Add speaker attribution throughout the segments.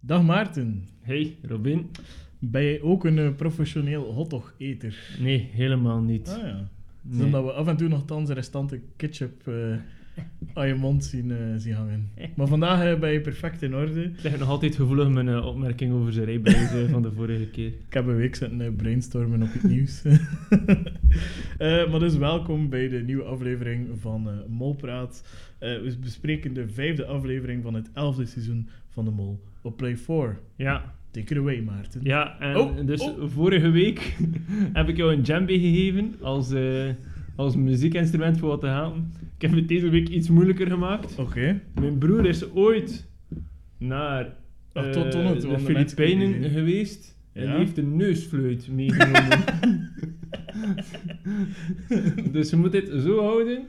Speaker 1: Dag Maarten,
Speaker 2: Hey, Robin.
Speaker 1: ben jij ook een eh, professioneel hotdog-eter?
Speaker 2: Nee, helemaal niet.
Speaker 1: Ah ja.
Speaker 2: Nee.
Speaker 1: Omdat we af en toe nogthans restante ketchup eh aan je mond zien, eh, zien hangen. Maar vandaag eh, ben je perfect in orde.
Speaker 2: Ik leg nog altijd gevoelig mijn eh, opmerking over zijn rijbewijs eh, van de vorige keer.
Speaker 1: Ik heb een week zitten eh, brainstormen op het nieuws. Eh, maar dus welkom bij de nieuwe aflevering van eh, Molpraat. Eh, we bespreken de vijfde aflevering van het elfde seizoen van de Mol op Play 4.
Speaker 2: Ja,
Speaker 1: Take it away Maarten.
Speaker 2: ja en
Speaker 1: Oh,
Speaker 2: dus
Speaker 1: oh.
Speaker 2: vorige week heb ik jou een djembe gegeven als, eh, als muziekinstrument voor wat te helpen. Ik heb het deze week iets moeilijker gemaakt.
Speaker 1: Oké.
Speaker 2: Mijn broer is ooit naar
Speaker 1: Ah,
Speaker 2: eh,
Speaker 1: tot- tot nu toe,
Speaker 2: de
Speaker 1: want de mensen kunnen
Speaker 2: Filipijnen
Speaker 1: niet zien.
Speaker 2: geweest. En
Speaker 1: Ja?
Speaker 2: die heeft een neusfluit meegenomen. dus je moet dit zo houden.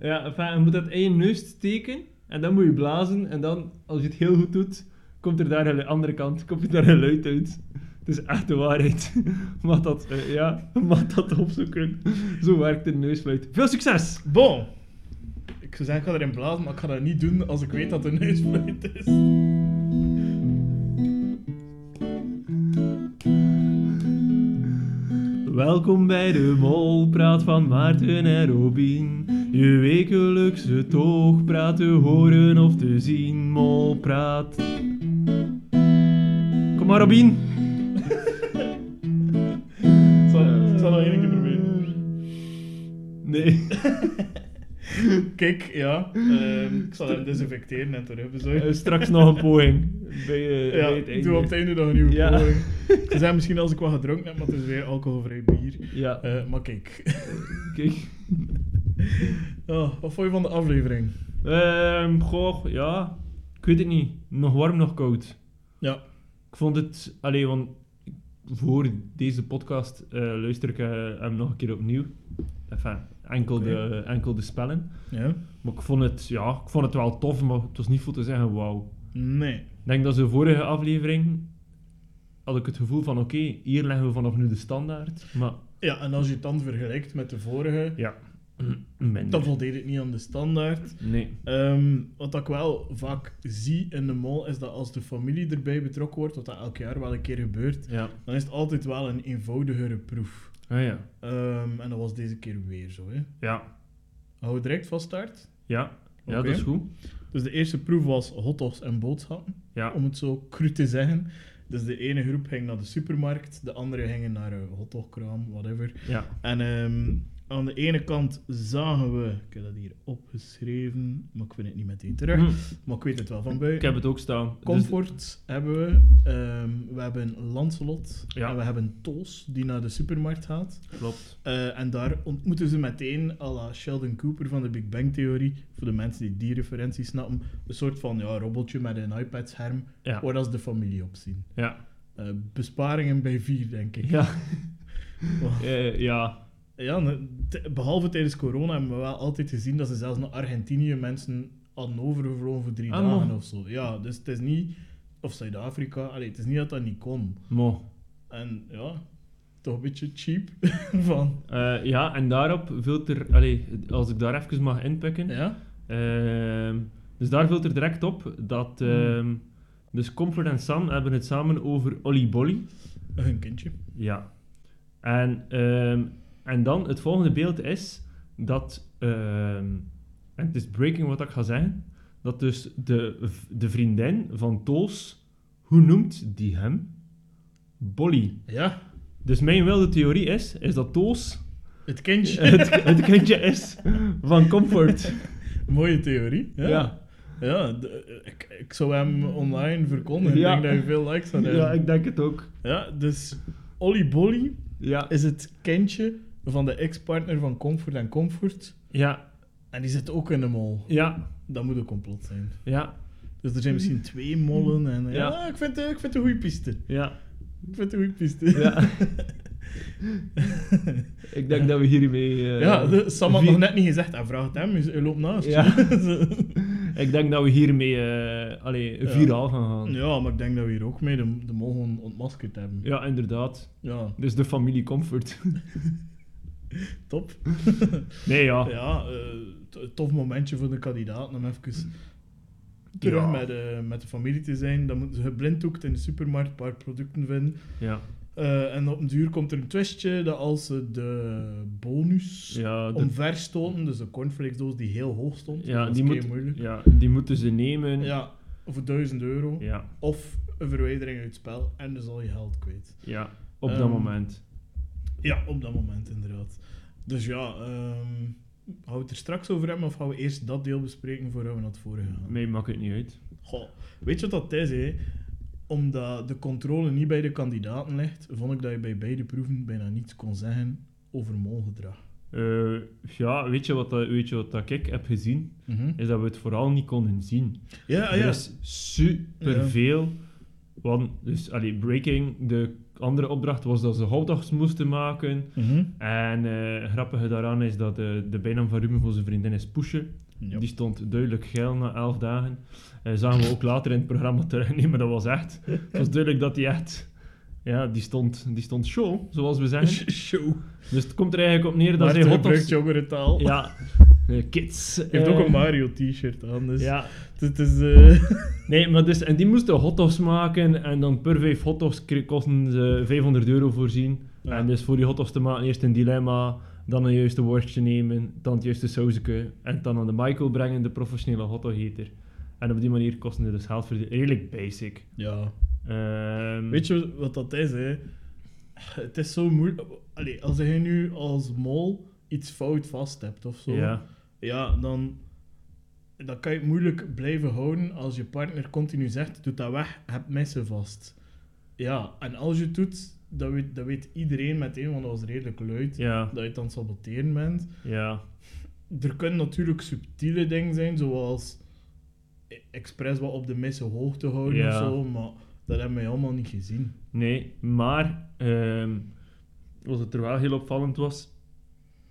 Speaker 2: Ja, enfin, je moet dat in je neus steken. En dan moet je blazen. En dan, als je het heel goed doet, komt er daar aan de andere kant komt er daar een luid uit. Het is echt de waarheid. Mag dat, eh, ja, mag dat opzoeken. Zo werkt een neusfluit. Veel succes!
Speaker 1: Bon. Ik zou zeggen, ik ga erin blazen, maar ik ga dat niet doen als ik weet dat het een neusfluit is.
Speaker 2: Welkom bij de Molpraat van Maarten en Robin. Je wekelijkse toogpraat te horen of te zien. Molpraat. Kom maar, Robin.
Speaker 1: Ik zal, ik zal nog één keer proberen.
Speaker 2: Nee,
Speaker 1: Kijk, ja. ehm, ik zal hem desinfecteren en terug
Speaker 2: eh,
Speaker 1: bezorgen.
Speaker 2: straks nog een poging. Bij, eh, bij het
Speaker 1: Ja,
Speaker 2: einde.
Speaker 1: doe op het einde nog een nieuwe
Speaker 2: Ja.
Speaker 1: poging. Ze zijn misschien als ik wat gedronken heb, maar het is weer alcoholvrij bier.
Speaker 2: Ja,
Speaker 1: Eh, maar kijk.
Speaker 2: kijk.
Speaker 1: Oh, wat vond je van de aflevering?
Speaker 2: Ehm, goh, ja. Ik weet het niet. Nog warm, nog koud.
Speaker 1: Ja.
Speaker 2: Ik vond het... Allee, want voor deze podcast eh, luister ik eh, hem nog een keer opnieuw. Enfin, enkel, de, enkel de spellen.
Speaker 1: Ja?
Speaker 2: Maar ik vond het, ja, ik vond het wel tof, maar het was niet veel te zeggen wauw.
Speaker 1: Nee.
Speaker 2: Ik denk dat ze de vorige aflevering... Had ik het gevoel van, oké, hier leggen we vanaf nu de standaard. Maar
Speaker 1: Ja, en als je het dan vergelijkt met de vorige,
Speaker 2: ja, minder.
Speaker 1: dan voldeed het niet aan de standaard.
Speaker 2: Nee.
Speaker 1: Ehm, wat ik wel vaak zie in de mol is dat als de familie erbij betrokken wordt, wat dat elk jaar wel een keer gebeurt,
Speaker 2: Ja.
Speaker 1: dan is het altijd wel een eenvoudigere proef.
Speaker 2: Ah, ja.
Speaker 1: Ehm, en dat was deze keer weer zo. Hè.
Speaker 2: Ja.
Speaker 1: Hou direct van start.
Speaker 2: Ja. Ja,
Speaker 1: Oké.
Speaker 2: dat is goed.
Speaker 1: Dus de eerste proef was hotdogs en boodschappen,
Speaker 2: Ja.
Speaker 1: om het zo cru te zeggen. Dus de ene groep ging naar de supermarkt, de andere gingen naar een hotdogkraam, whatever.
Speaker 2: Ja.
Speaker 1: En ehm, aan de ene kant zagen we, ik heb dat hier opgeschreven, maar ik vind het niet meteen terug,
Speaker 2: Hm.
Speaker 1: maar ik weet het wel van buiten.
Speaker 2: Ik heb het ook staan. Dus-
Speaker 1: Comfort hebben we. ehm, we hebben Lancelot.
Speaker 2: Ja.
Speaker 1: En we hebben Toos, die naar de supermarkt gaat.
Speaker 2: Klopt.
Speaker 1: Eh, en daar ontmoeten ze meteen, à la Sheldon Cooper van de Big Bang Theorie, voor de mensen die die referentie snappen, een soort van ja, robotje met een iPad-scherm,
Speaker 2: Ja.
Speaker 1: waar dat ze de familie op zien.
Speaker 2: Ja.
Speaker 1: Eh, besparingen bij vier, denk ik.
Speaker 2: Ja.
Speaker 1: Oh.
Speaker 2: Eh, ja.
Speaker 1: Ja, ne- t- behalve tijdens corona hebben we wel altijd gezien dat ze zelfs naar Argentinië mensen hadden overgevlogen voor drie
Speaker 2: Ah,
Speaker 1: dagen
Speaker 2: man.
Speaker 1: of zo. Ja, dus het is niet... Of Zuid-Afrika, allee, het is niet dat dat niet kon.
Speaker 2: Mo.
Speaker 1: En ja, toch een beetje cheap van...
Speaker 2: Eh, ja, en daarop filter... Allee, als ik daar even mag inpikken.
Speaker 1: Ja?
Speaker 2: Ehm, dus daar filter direct op dat... ehm, dus Comfort en Sam hebben het samen over Olly Bolly.
Speaker 1: Een kindje.
Speaker 2: Ja. En, ehm, en dan het volgende beeld is dat, ehm, en het is breaking wat ik ga zeggen, dat dus de, v- de vriendin van Toos, hoe noemt die hem? Bolly.
Speaker 1: Ja,
Speaker 2: Dus mijn wilde theorie is, is dat Toos
Speaker 1: het kindje.
Speaker 2: het, het kindje is van Comfort.
Speaker 1: Mooie theorie. Ja.
Speaker 2: Ja.
Speaker 1: Ja, de- ik, ik zou hem online verkondigen.
Speaker 2: Ja.
Speaker 1: Ik denk dat je veel likes zou hebben. Ja,
Speaker 2: Ja, ik denk het ook.
Speaker 1: dus Olly Bolly
Speaker 2: Ja.
Speaker 1: is het kindje van de ex-partner van Comfort en Comfort.
Speaker 2: Ja.
Speaker 1: En die zit ook in de mol.
Speaker 2: Ja.
Speaker 1: Dat moet een complot zijn.
Speaker 2: Ja.
Speaker 1: Dus er zijn misschien twee mollen. En, ja, Ah,
Speaker 2: Ja.
Speaker 1: ik vind het ik vind het een goede piste.
Speaker 2: Ja.
Speaker 1: Ik vind het een goede piste.
Speaker 2: Ja. Ik denk dat we hiermee... eh,
Speaker 1: Ja, de- Sam had
Speaker 2: vier-
Speaker 1: nog net niet gezegd. Hij vraagt hem, hij loopt naast je. Dus, eh,
Speaker 2: Ja.
Speaker 1: Zo.
Speaker 2: Ik denk dat we hiermee eh allee,
Speaker 1: Ja.
Speaker 2: viraal gaan gaan. Ja.
Speaker 1: Ja, maar ik denk dat we hier ook mee de, de mol gewoon ontmaskerd hebben. Ja.
Speaker 2: inderdaad. Dus de familie Comfort.
Speaker 1: top.
Speaker 2: Nee, ja.
Speaker 1: Ja, eh, to- tof momentje voor de kandidaten om even terug
Speaker 2: Ja.
Speaker 1: met, eh, met de familie te zijn. Dan moeten ze geblinddoekt in de supermarkt een paar producten vinden.
Speaker 2: Ja.
Speaker 1: Eh, en op een duur komt er een twistje dat als ze de bonus
Speaker 2: Ja, de-
Speaker 1: omver stoten, dus de cornflakesdoos die heel hoog stond,
Speaker 2: ja,
Speaker 1: dat
Speaker 2: die,
Speaker 1: is kei
Speaker 2: moet,
Speaker 1: moeilijk.
Speaker 2: ja, die moeten ze nemen. Ja.
Speaker 1: Ja, voor 1000 euro.
Speaker 2: Ja,
Speaker 1: Of een verwijdering uit het spel en dus al je geld kwijt.
Speaker 2: op dat
Speaker 1: Ehm,
Speaker 2: moment.
Speaker 1: Ja, op dat moment inderdaad. Dus ja, ehm gaan we het er straks over hebben of gaan we eerst dat deel bespreken voordat we naar het vorige gaan?
Speaker 2: Mij maakt het niet uit.
Speaker 1: Goh, weet je wat dat is, hè? Omdat de controle niet bij de kandidaten ligt, vond ik dat je bij beide proeven bijna niets kon zeggen over molgedrag.
Speaker 2: Eh, ja, weet je wat, dat- weet je wat dat ik heb gezien? Is dat we het vooral niet konden zien.
Speaker 1: Mhm. Ja,
Speaker 2: Er
Speaker 1: ja.
Speaker 2: is superveel. Want, dus, allee, Breaking, de andere opdracht was dat ze hotdogs moesten maken.
Speaker 1: Mhm.
Speaker 2: En eh grappige daaraan is dat eh, de bijnaam van Ruben voor zijn vriendin is Poesje.
Speaker 1: Ja.
Speaker 2: Die stond duidelijk geil na elf dagen. Eh zagen we ook later in het programma terug. Nee, maar dat was echt. Het was duidelijk dat die echt. Ja, die stond, die stond show, zoals we zeggen.
Speaker 1: Show.
Speaker 2: Dus het komt er eigenlijk op neer dat
Speaker 1: Maarten
Speaker 2: ze
Speaker 1: gebruikt
Speaker 2: hotdogs.
Speaker 1: jongerentaal.
Speaker 2: Ja, eh, kids.
Speaker 1: Hij heeft
Speaker 2: eh,
Speaker 1: ook een Mario t-shirt aan, dus
Speaker 2: Ja,
Speaker 1: het is... eh,
Speaker 2: nee, maar dus. En die moesten hotdogs maken. En dan per vijf hotdogs kri- kosten ze 500 euro voorzien.
Speaker 1: Ja.
Speaker 2: En dus voor die hotdogs te maken, eerst een dilemma. Dan een juiste worstje nemen. Dan het juiste sausje. En dan aan de Michael brengen, de professionele hotdogheter. En op die manier kosten ze dus geld voor die- Redelijk basic.
Speaker 1: Ja.
Speaker 2: Ehm,
Speaker 1: Weet je wat dat is, hè? Het is zo moeilijk... Allee, als jij nu als mol iets fout vast hebt of zo,
Speaker 2: Ja,
Speaker 1: ja, dan, dan kan je het moeilijk blijven houden als je partner continu zegt, doe dat weg, heb messen vast. Ja, en als je het doet, dat weet, dat weet iedereen meteen, want dat was redelijk luid,
Speaker 2: ja,
Speaker 1: dat je het aan het saboteren bent.
Speaker 2: ja.
Speaker 1: er kunnen natuurlijk subtiele dingen zijn, zoals e- expres wat op de messen hoog te houden
Speaker 2: Ja.
Speaker 1: of zo, maar dat hebben wij allemaal niet gezien.
Speaker 2: Nee, maar ehm, wat het er wel heel opvallend was,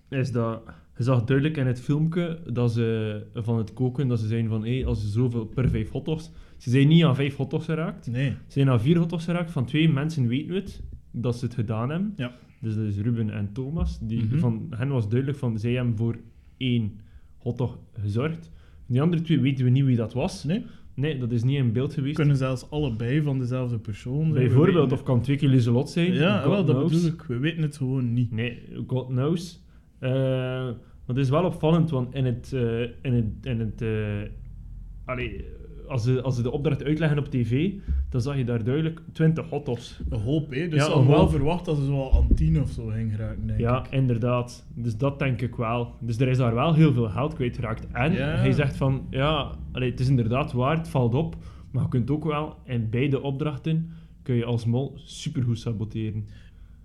Speaker 2: is dat je zag duidelijk in het filmpje dat ze van het koken, dat ze zeiden van hé, als je zoveel per vijf hotdogs, ze zijn niet aan vijf hotdogs geraakt,
Speaker 1: Nee.
Speaker 2: ze zijn aan vier hotdogs geraakt, van twee mensen weten we het, dat ze het gedaan hebben.
Speaker 1: Ja.
Speaker 2: Dus dat is Ruben en Thomas, die,
Speaker 1: Mhm.
Speaker 2: van hen was duidelijk van zij hebben voor één hotdog gezorgd. Die andere twee weten we niet wie dat was.
Speaker 1: Nee?
Speaker 2: Nee, dat is niet in beeld geweest.
Speaker 1: Kunnen zelfs allebei van dezelfde persoon zijn.
Speaker 2: Bijvoorbeeld,
Speaker 1: We
Speaker 2: of kan twee keer Lieselot zijn.
Speaker 1: weten- Ja,
Speaker 2: God
Speaker 1: wel, dat
Speaker 2: knows.
Speaker 1: bedoel ik. We weten het gewoon niet.
Speaker 2: Nee, God knows. Eh, maar het is wel opvallend, want in het... eh, in het, in het eh, allee, als ze, als ze de opdracht uitleggen op tv, dan zag je daar duidelijk 20 hotdogs.
Speaker 1: Een hoop, hè. Dus ze
Speaker 2: Ja, een
Speaker 1: hadden wel
Speaker 2: hoop.
Speaker 1: verwacht dat ze zo al aan tien of zo ging raken, denk
Speaker 2: Ja,
Speaker 1: ik.
Speaker 2: inderdaad. Dus dat denk ik wel. Dus er is daar wel heel veel geld kwijtgeraakt. En
Speaker 1: Ja.
Speaker 2: hij zegt van, ja, allee, het is inderdaad waar, het valt op. Maar je kunt ook wel, in beide opdrachten, kun je als mol supergoed saboteren.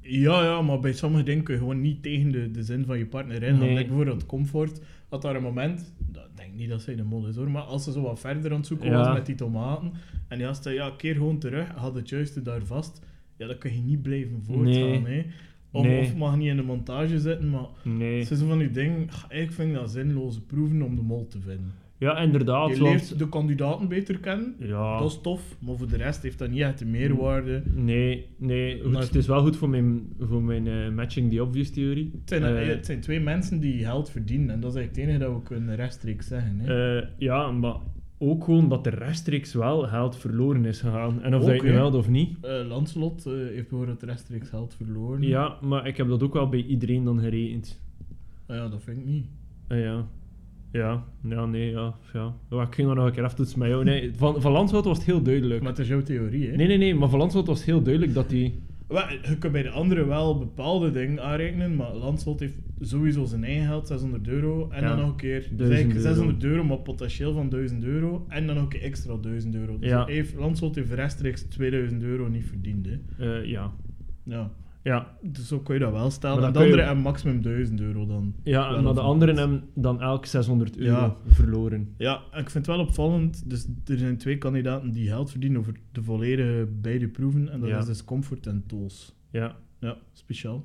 Speaker 1: Ja, ja, maar bij sommige dingen kun je gewoon niet tegen de, de zin van je partner in.
Speaker 2: Nee.
Speaker 1: Denk bijvoorbeeld comfort. Had daar een moment, dat- ik denk niet dat zij de mol is hoor, maar als ze zo wat verder aan het zoeken
Speaker 2: Ja.
Speaker 1: was met die tomaten, en die had ze, ja, keer gewoon terug, had het juiste daar vast, ja, dan kun je niet blijven voortgaan,
Speaker 2: Nee.
Speaker 1: hè. Of,
Speaker 2: Nee.
Speaker 1: of mag niet in de montage zitten, maar
Speaker 2: Nee.
Speaker 1: het is zo van die dingen, ah, ik vind dat zinloze proeven om de mol te vinden.
Speaker 2: Ja, inderdaad.
Speaker 1: je
Speaker 2: want-
Speaker 1: leert de kandidaten beter kennen,
Speaker 2: Ja.
Speaker 1: dat is tof, maar voor de rest heeft dat niet echt de meerwaarde.
Speaker 2: Nee, nee. Goed,
Speaker 1: Maar-
Speaker 2: het is wel goed voor mijn, voor mijn eh, matching the obvious theorie.
Speaker 1: Het zijn,
Speaker 2: Eh,
Speaker 1: het zijn twee mensen die geld verdienen. En dat is eigenlijk het enige dat we kunnen rechtstreeks zeggen. Hè.
Speaker 2: eh, ja, maar ook gewoon dat er rechtstreeks wel geld verloren is gegaan. En of dat je het nu
Speaker 1: Oké.
Speaker 2: meldt of niet.
Speaker 1: Eh, Lancelot eh, heeft bijvoorbeeld rechtstreeks geld verloren.
Speaker 2: Ja, maar ik heb dat ook wel bij iedereen dan gerekend.
Speaker 1: Ah ja, dat vind ik niet.
Speaker 2: Eh, ja. Ja, ja, nee, ja. ja. Ja, ik ging dat nog een keer aftoetsen met jou. Nee, van, van Landschot was het heel duidelijk.
Speaker 1: Maar het is jouw theorie, hè?
Speaker 2: Nee, nee, nee, maar van Landschot was het heel duidelijk dat die...
Speaker 1: Wel, je kunt bij de anderen wel bepaalde dingen aanrekenen, maar Lancelot heeft sowieso zijn eigen geld, 600 euro. En
Speaker 2: Ja.
Speaker 1: dan nog een keer dus
Speaker 2: 1000
Speaker 1: eigenlijk
Speaker 2: euro.
Speaker 1: 600 euro, maar potentieel van 1000 euro. En dan nog een keer extra 1000 euro. Dus
Speaker 2: Ja.
Speaker 1: hij heeft, Lancelot heeft rechtstreeks 2000 euro niet verdiend, hè?
Speaker 2: eh, ja.
Speaker 1: Ja.
Speaker 2: Ja,
Speaker 1: Dus zo kun je dat wel stellen.
Speaker 2: Maar
Speaker 1: En de
Speaker 2: dan kun je-
Speaker 1: anderen hebben maximum 1000 euro dan.
Speaker 2: ja
Speaker 1: Wel
Speaker 2: maar de
Speaker 1: of
Speaker 2: anderen
Speaker 1: niet.
Speaker 2: hebben dan elk 600 euro
Speaker 1: Ja.
Speaker 2: verloren.
Speaker 1: Ja, en ik vind het wel opvallend. Dus er zijn twee kandidaten die geld verdienen over de volledige beide proeven. En dat
Speaker 2: Ja.
Speaker 1: is dus Comfort en Tools.
Speaker 2: Ja.
Speaker 1: Ja, speciaal.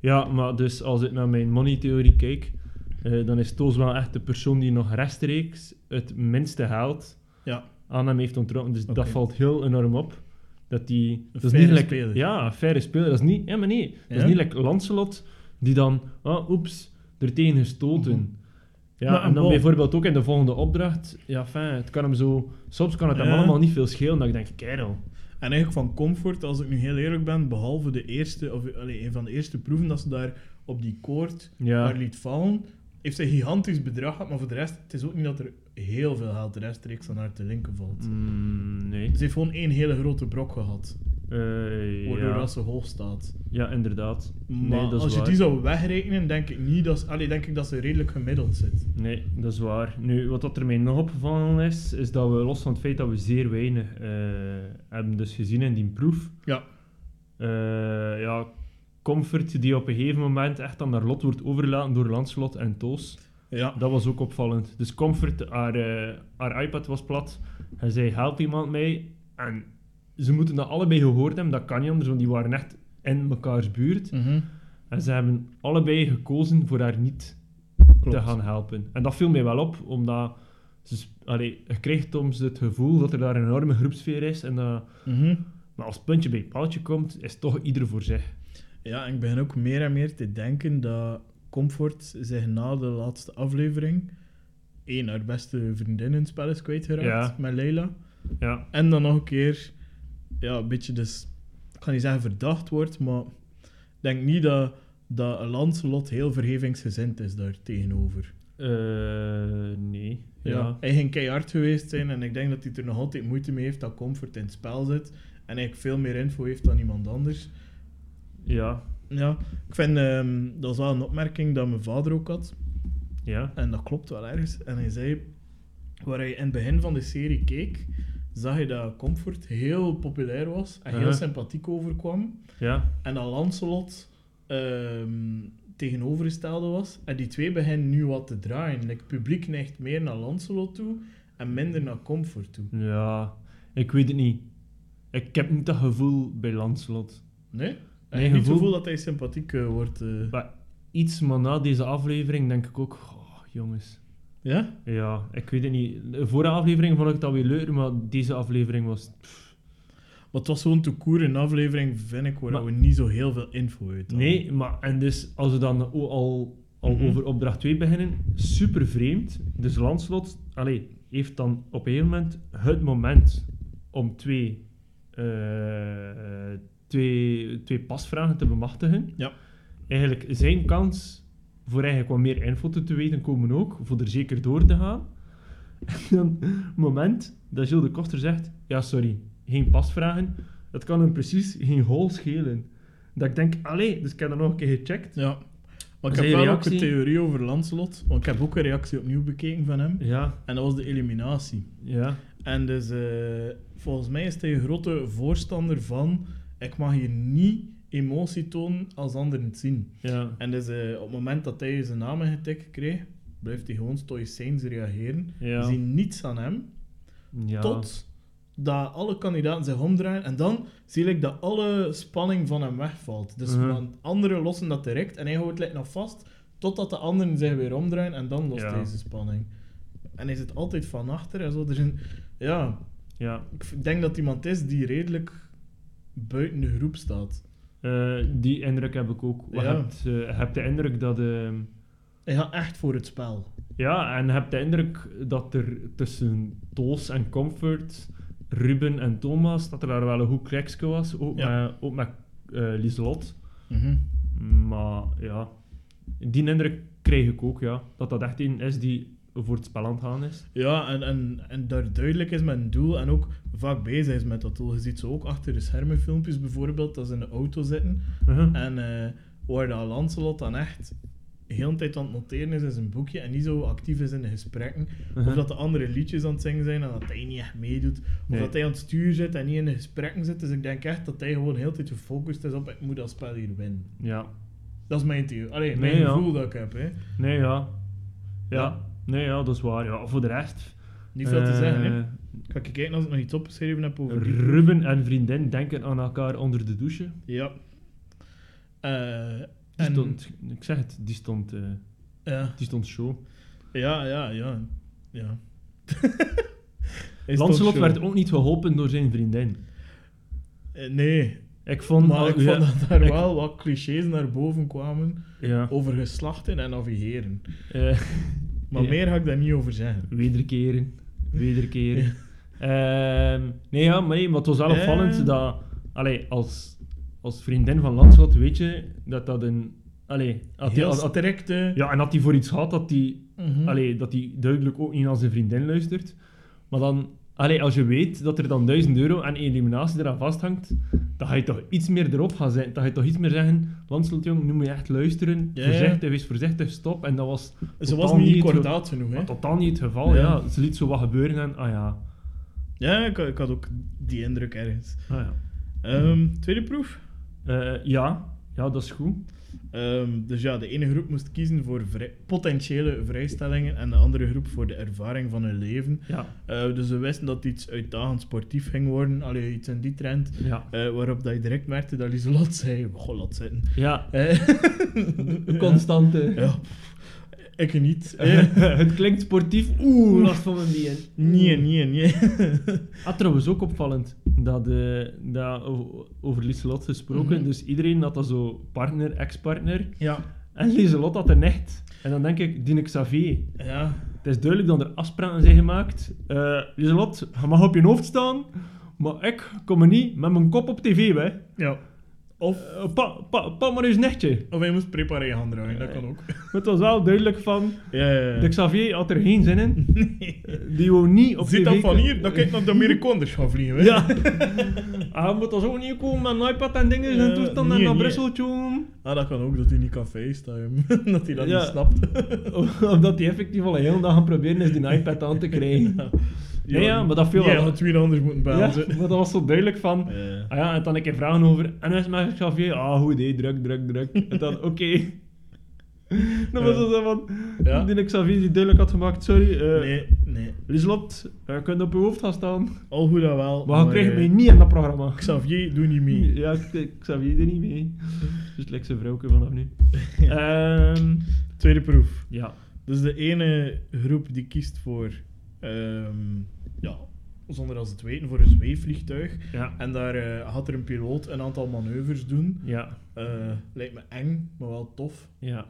Speaker 2: Ja, maar dus als ik naar mijn money-theorie kijk, eh, dan is Toos wel echt de persoon die nog rechtstreeks het minste geld
Speaker 1: Ja.
Speaker 2: aan hem heeft onttrokken. Dus dat
Speaker 1: Oké.
Speaker 2: valt heel enorm op. Dat die, dat is
Speaker 1: faire
Speaker 2: niet like-
Speaker 1: speler.
Speaker 2: Ja, een faire speler. Dat is niet, ja, maar nee, dat
Speaker 1: Ja?
Speaker 2: oh, is niet like Lancelot die dan, ah, oeps, er tegen gestoten. Ja,
Speaker 1: Mhm. Maar
Speaker 2: en dan
Speaker 1: bon.
Speaker 2: bijvoorbeeld ook in de volgende opdracht. Ja, fijn, het kan hem zo... Soms kan het hem
Speaker 1: Ja.
Speaker 2: allemaal niet veel schelen, dat ik denk, kerel.
Speaker 1: En eigenlijk van comfort, als ik nu heel eerlijk ben, behalve de eerste, of allee, een van de eerste proeven dat ze daar op die koord
Speaker 2: Ja.
Speaker 1: haar liet vallen, heeft ze een gigantisch bedrag gehad, maar voor de rest, het is ook niet dat er heel veel geld rechtstreeks aan haar te linken valt.
Speaker 2: Mm, nee.
Speaker 1: Ze heeft gewoon één hele grote brok gehad,
Speaker 2: Eh,
Speaker 1: waardoor
Speaker 2: ja.
Speaker 1: dat ze hoog staat.
Speaker 2: ja, inderdaad.
Speaker 1: Maar
Speaker 2: nee, dat is
Speaker 1: als je
Speaker 2: waar.
Speaker 1: die zou wegrekenen, denk ik niet dat ze, allee, denk ik dat ze redelijk gemiddeld zit.
Speaker 2: Nee, dat is waar. Nu, wat dat er mij nog opgevallen is, is dat we los van het feit dat we zeer weinig eh, hebben dus gezien in die proef.
Speaker 1: Ja.
Speaker 2: eh, ja, Comfort, die op een gegeven moment echt aan haar lot wordt overgelaten door Lanslot en Toos.
Speaker 1: Ja,
Speaker 2: Dat was ook opvallend. Dus Comfort, haar, eh, haar iPad was plat. Hij zei, help iemand mee. En ze moeten dat allebei gehoord hebben, dat kan niet anders, want die waren echt in mekaars buurt.
Speaker 1: Mhm.
Speaker 2: En ze hebben allebei gekozen voor haar niet
Speaker 1: klopt.
Speaker 2: te gaan helpen. En dat viel mij wel op, omdat ze, sp- allee, je krijgt soms het gevoel dat er daar een enorme groepsfeer is. En dat,
Speaker 1: Mhm.
Speaker 2: maar als het puntje bij het paaltje komt, is toch ieder voor zich.
Speaker 1: Ja, en ik begin ook meer en meer te denken dat Comfort zich na de laatste aflevering één haar beste vriendin in het spel is kwijtgeraakt
Speaker 2: Ja.
Speaker 1: met Leila.
Speaker 2: Ja,
Speaker 1: En dan nog een keer, ja, een beetje dus, ik kan niet zeggen verdacht wordt, maar ik denk niet dat, dat Lancelot heel vergevingsgezind is daar tegenover.
Speaker 2: Eh, nee.
Speaker 1: Ja.
Speaker 2: Ja.
Speaker 1: Hij ging keihard geweest zijn en ik denk dat hij er nog altijd moeite mee heeft dat Comfort in het spel zit en eigenlijk veel meer info heeft dan iemand anders.
Speaker 2: Ja.
Speaker 1: Ja, ik vind ehm, dat is wel een opmerking dat mijn vader ook had.
Speaker 2: Ja.
Speaker 1: En dat klopt wel ergens. En hij zei, waar hij in het begin van de serie keek, zag je dat Comfort heel populair was en heel
Speaker 2: Uh-huh.
Speaker 1: sympathiek overkwam.
Speaker 2: Ja.
Speaker 1: En dat Lancelot ehm, tegenovergestelde was. En die twee beginnen nu wat te draaien. Like, het publiek neigt meer naar Lancelot toe en minder naar Comfort toe.
Speaker 2: Ja. Ik weet het niet. Ik heb niet dat gevoel bij Lanslot.
Speaker 1: Nee? Heb
Speaker 2: Nee,
Speaker 1: je niet het
Speaker 2: gevoel-
Speaker 1: gevoel dat hij sympathiek eh, wordt? eh?
Speaker 2: Maar iets, maar na deze aflevering denk ik ook... "Goh, jongens.
Speaker 1: Ja?
Speaker 2: Ja, ik weet het niet. De vorige aflevering vond ik dat weer leuker, maar deze aflevering was...
Speaker 1: Maar het was gewoon te koer een aflevering, vind ik, waar
Speaker 2: Maar-
Speaker 1: we niet zo heel veel info uit hadden.
Speaker 2: Nee, maar en dus als we dan o- al, al
Speaker 1: Mhm.
Speaker 2: over opdracht 2 beginnen, super vreemd. Dus Lanslot allee, heeft dan op een gegeven moment het moment om twee, eh, eh, twee, twee pasvragen te bemachtigen.
Speaker 1: Ja.
Speaker 2: Eigenlijk zijn kans voor eigenlijk wat meer info te te weten komen ook, voor er zeker door te gaan. En dan het moment dat Gilles de Koster zegt, ja sorry, geen pasvragen, dat kan hem precies geen hol schelen. Dat ik denk, allee, dus ik heb dat nog een keer gecheckt.
Speaker 1: Ja. Maar ik
Speaker 2: Zijn
Speaker 1: heb wel ook
Speaker 2: reactie?
Speaker 1: een theorie over Lancelot. Want ik heb ook een reactie opnieuw bekeken van hem.
Speaker 2: Ja,
Speaker 1: En dat was de eliminatie.
Speaker 2: ja,
Speaker 1: En dus eh, volgens mij is hij een grote voorstander van... Ik mag hier niet emotie tonen als anderen het zien.
Speaker 2: ja,
Speaker 1: En dus eh, op het moment dat hij zijn naam ingetikt kreeg... Blijft hij gewoon stoïcijns reageren.
Speaker 2: ja.
Speaker 1: Ze zien niets aan hem.
Speaker 2: ja.
Speaker 1: Tot dat alle kandidaten zich omdraaien. En dan zie ik dat alle spanning van hem wegvalt. Dus
Speaker 2: Mhm.
Speaker 1: van anderen lossen dat direct. En hij houdt het nog vast. Totdat de anderen zich weer omdraaien. En dan lost
Speaker 2: Ja.
Speaker 1: hij deze spanning. En hij zit altijd van achter. En zo. Er zijn, ja,
Speaker 2: Ja.
Speaker 1: ik v- denk dat iemand is die redelijk buiten de groep staat.
Speaker 2: Eh, die indruk heb ik ook. Je
Speaker 1: Ja.
Speaker 2: hebt, eh, je hebt de indruk dat... ehm,
Speaker 1: Hij gaat echt voor het spel.
Speaker 2: ja, en je hebt de indruk dat er tussen Toos en Comfort, Ruben en Thomas, dat er daar wel een goed krekske was. Ook
Speaker 1: Ja.
Speaker 2: met, ook met eh, Lieselot.
Speaker 1: Mhm.
Speaker 2: Maar ja, die indruk krijg ik ook, ja. Dat dat echt een is die voor het spel aan het gaan is.
Speaker 1: Ja, en, en, en daar duidelijk is met een doel en ook vaak bezig is met dat doel. Je ziet ze ook achter de schermen filmpjes bijvoorbeeld, dat ze in de auto zitten.
Speaker 2: Uh-huh.
Speaker 1: En eh waar dat Lancelot dan echt heel de tijd aan het noteren is in zijn boekje en niet zo actief is in de gesprekken. Of
Speaker 2: Uh-huh.
Speaker 1: dat de anderen liedjes aan het zingen zijn en dat hij niet echt meedoet. Of
Speaker 2: Nee.
Speaker 1: dat hij aan het stuur zit en niet in de gesprekken zit. Dus ik denk echt dat hij gewoon heel de tijd gefocust is op ik moet dat spel hier winnen.
Speaker 2: Ja.
Speaker 1: Dat is mijn theorie. Allee, mijn
Speaker 2: Nee, ja.
Speaker 1: gevoel dat ik heb. Hè.
Speaker 2: Nee, ja. Ja.
Speaker 1: Ja.
Speaker 2: Nee, ja, dat is waar. Ja. Voor de rest...
Speaker 1: Niet veel te
Speaker 2: eh,
Speaker 1: zeggen. Hè. Ga ik kijken als ik nog iets opgeschreven heb over die proef.
Speaker 2: Ruben en vriendin denken aan elkaar onder de douche.
Speaker 1: Ja. Eh,
Speaker 2: Die
Speaker 1: en-
Speaker 2: stond... Ik zeg het, die stond, eh,
Speaker 1: Ja,
Speaker 2: die stond show.
Speaker 1: ja, ja. ja, ja. Is toch
Speaker 2: Lancelot
Speaker 1: zo.
Speaker 2: werd ook niet geholpen door zijn vriendin.
Speaker 1: Eh, Nee,
Speaker 2: Ik vond...
Speaker 1: maar
Speaker 2: al-
Speaker 1: ik vond
Speaker 2: ja,
Speaker 1: dat daar
Speaker 2: ik-
Speaker 1: wel wat clichés naar boven kwamen
Speaker 2: Ja.
Speaker 1: over geslachten en navigeren.
Speaker 2: eh,
Speaker 1: Maar
Speaker 2: Ja.
Speaker 1: meer ga ik daar niet over zeggen.
Speaker 2: Wederkeren. Wederkeren. Ehm, nee, ja, maar, nee, maar het was wel
Speaker 1: Ja.
Speaker 2: opvallend dat... Allee, als, als vriendin van Lanslot weet je dat dat een... Allee, had die,
Speaker 1: Heel
Speaker 2: had, had-
Speaker 1: directe...
Speaker 2: ja, en had hij voor iets gehad dat hij
Speaker 1: eh, Mhm.
Speaker 2: allee, dat hij duidelijk ook niet naar zijn vriendin luistert. Maar dan, allee, als je weet dat er dan 1000 euro aan eliminatie eraan vasthangt, dan ga je toch iets meer erop gaan zijn. Dan ga je toch iets meer zeggen: Lanslot, jong, nu moet je echt luisteren.
Speaker 1: Ja, ja.
Speaker 2: voorzichtig, wees voorzichtig, stop. En dat was
Speaker 1: Ze was
Speaker 2: totaal
Speaker 1: niet
Speaker 2: niet het
Speaker 1: kordaat genoeg, hè.
Speaker 2: totaal niet het geval.
Speaker 1: Ja.
Speaker 2: Ja. Ze liet zo wat gebeuren en, ah ja.
Speaker 1: Ja, ik, ik had ook die indruk ergens.
Speaker 2: Ah, ja.
Speaker 1: Ehm, tweede proef.
Speaker 2: Eh, ja. ja, dat is goed.
Speaker 1: Ehm, dus ja, de ene groep moest kiezen voor vrij- potentiële vrijstellingen en de andere groep voor de ervaring van hun leven.
Speaker 2: Ja,
Speaker 1: Eh, dus we wisten dat het iets uitdagend sportief ging worden, allee, iets in die trend.
Speaker 2: ja.
Speaker 1: Eh, waarop dat je direct merkte dat Lieselot zei, goh, laat zitten.
Speaker 2: ja.
Speaker 1: Eh,
Speaker 2: Constante.
Speaker 1: ja, pff, ik niet. Eh,
Speaker 2: het klinkt sportief. Oeh, last van mijn been.
Speaker 1: nee, nee, nee.
Speaker 2: Ah, trouwens ook opvallend dat, eh, dat o- over Lieselot gesproken.
Speaker 1: Mhm.
Speaker 2: Dus iedereen had dat zo partner, ex-partner.
Speaker 1: ja.
Speaker 2: En Lieselot had een echt. En dan denk ik, Dine Xavier.
Speaker 1: Ja.
Speaker 2: Het is duidelijk dat er afspraken zijn gemaakt. Eh Lieselot, je mag op je hoofd staan, maar ik kom er niet met mijn kop op tv bij.
Speaker 1: ja.
Speaker 2: Of eh, pa, pa, pa maar eens netje.
Speaker 1: Of hij moest preparé gaan draaien, dat kan ook.
Speaker 2: Maar Het was wel duidelijk van,
Speaker 1: Ja, ja, ja.
Speaker 2: de Xavier had er geen zin in. Eh,
Speaker 1: Nee.
Speaker 2: Die wou niet op
Speaker 1: Zit
Speaker 2: tv
Speaker 1: dat van
Speaker 2: ko-
Speaker 1: hier? Dan kijk naar de Amerikaners gaan vliegen, hè.
Speaker 2: Ja. Hij moet ons ook niet komen met een iPad en dingen
Speaker 1: Eh,
Speaker 2: en toestanden
Speaker 1: nee,
Speaker 2: en naar
Speaker 1: nee.
Speaker 2: Brussel tjoem.
Speaker 1: Ah, dat kan ook, dat hij niet kan facetimen. dat hij dat
Speaker 2: Ja.
Speaker 1: niet snapt.
Speaker 2: Omdat hij effectief al een hele dag aan het proberen is die iPad aan te krijgen. Nee, ja, maar dat viel
Speaker 1: jij
Speaker 2: wel-
Speaker 1: had twee anders moeten
Speaker 2: Ja,
Speaker 1: bellen. ze.
Speaker 2: maar dat was zo duidelijk van...
Speaker 1: Eh,
Speaker 2: Ah ja, en dan een keer vragen over... En dan is mijn Xavier... Ah, goed idee, druk, druk, druk. En dan, oké. Dan was
Speaker 1: Ja.
Speaker 2: het zo van...
Speaker 1: Ja.
Speaker 2: Die Xavier die duidelijk had gemaakt... Sorry, eh
Speaker 1: nee, nee.
Speaker 2: Lieslot, je kunt op je hoofd gaan staan.
Speaker 1: Al goed dat wel.
Speaker 2: Maar je krijgt
Speaker 1: eh,
Speaker 2: mij niet in dat programma.
Speaker 1: Xavier, doe niet mee.
Speaker 2: Ja, ik- Xavier er niet mee. Dus lekker zijn vrouwke vanaf nu. Ehm,
Speaker 1: Tweede proef.
Speaker 2: ja.
Speaker 1: Dus de ene groep die kiest voor... ehm, ja, zonder als het weten, voor een zweefvliegtuig.
Speaker 2: Ja.
Speaker 1: En daar eh, gaat er een piloot een aantal manoeuvres doen.
Speaker 2: Ja.
Speaker 1: Eh, lijkt me eng, maar wel tof.
Speaker 2: Ja.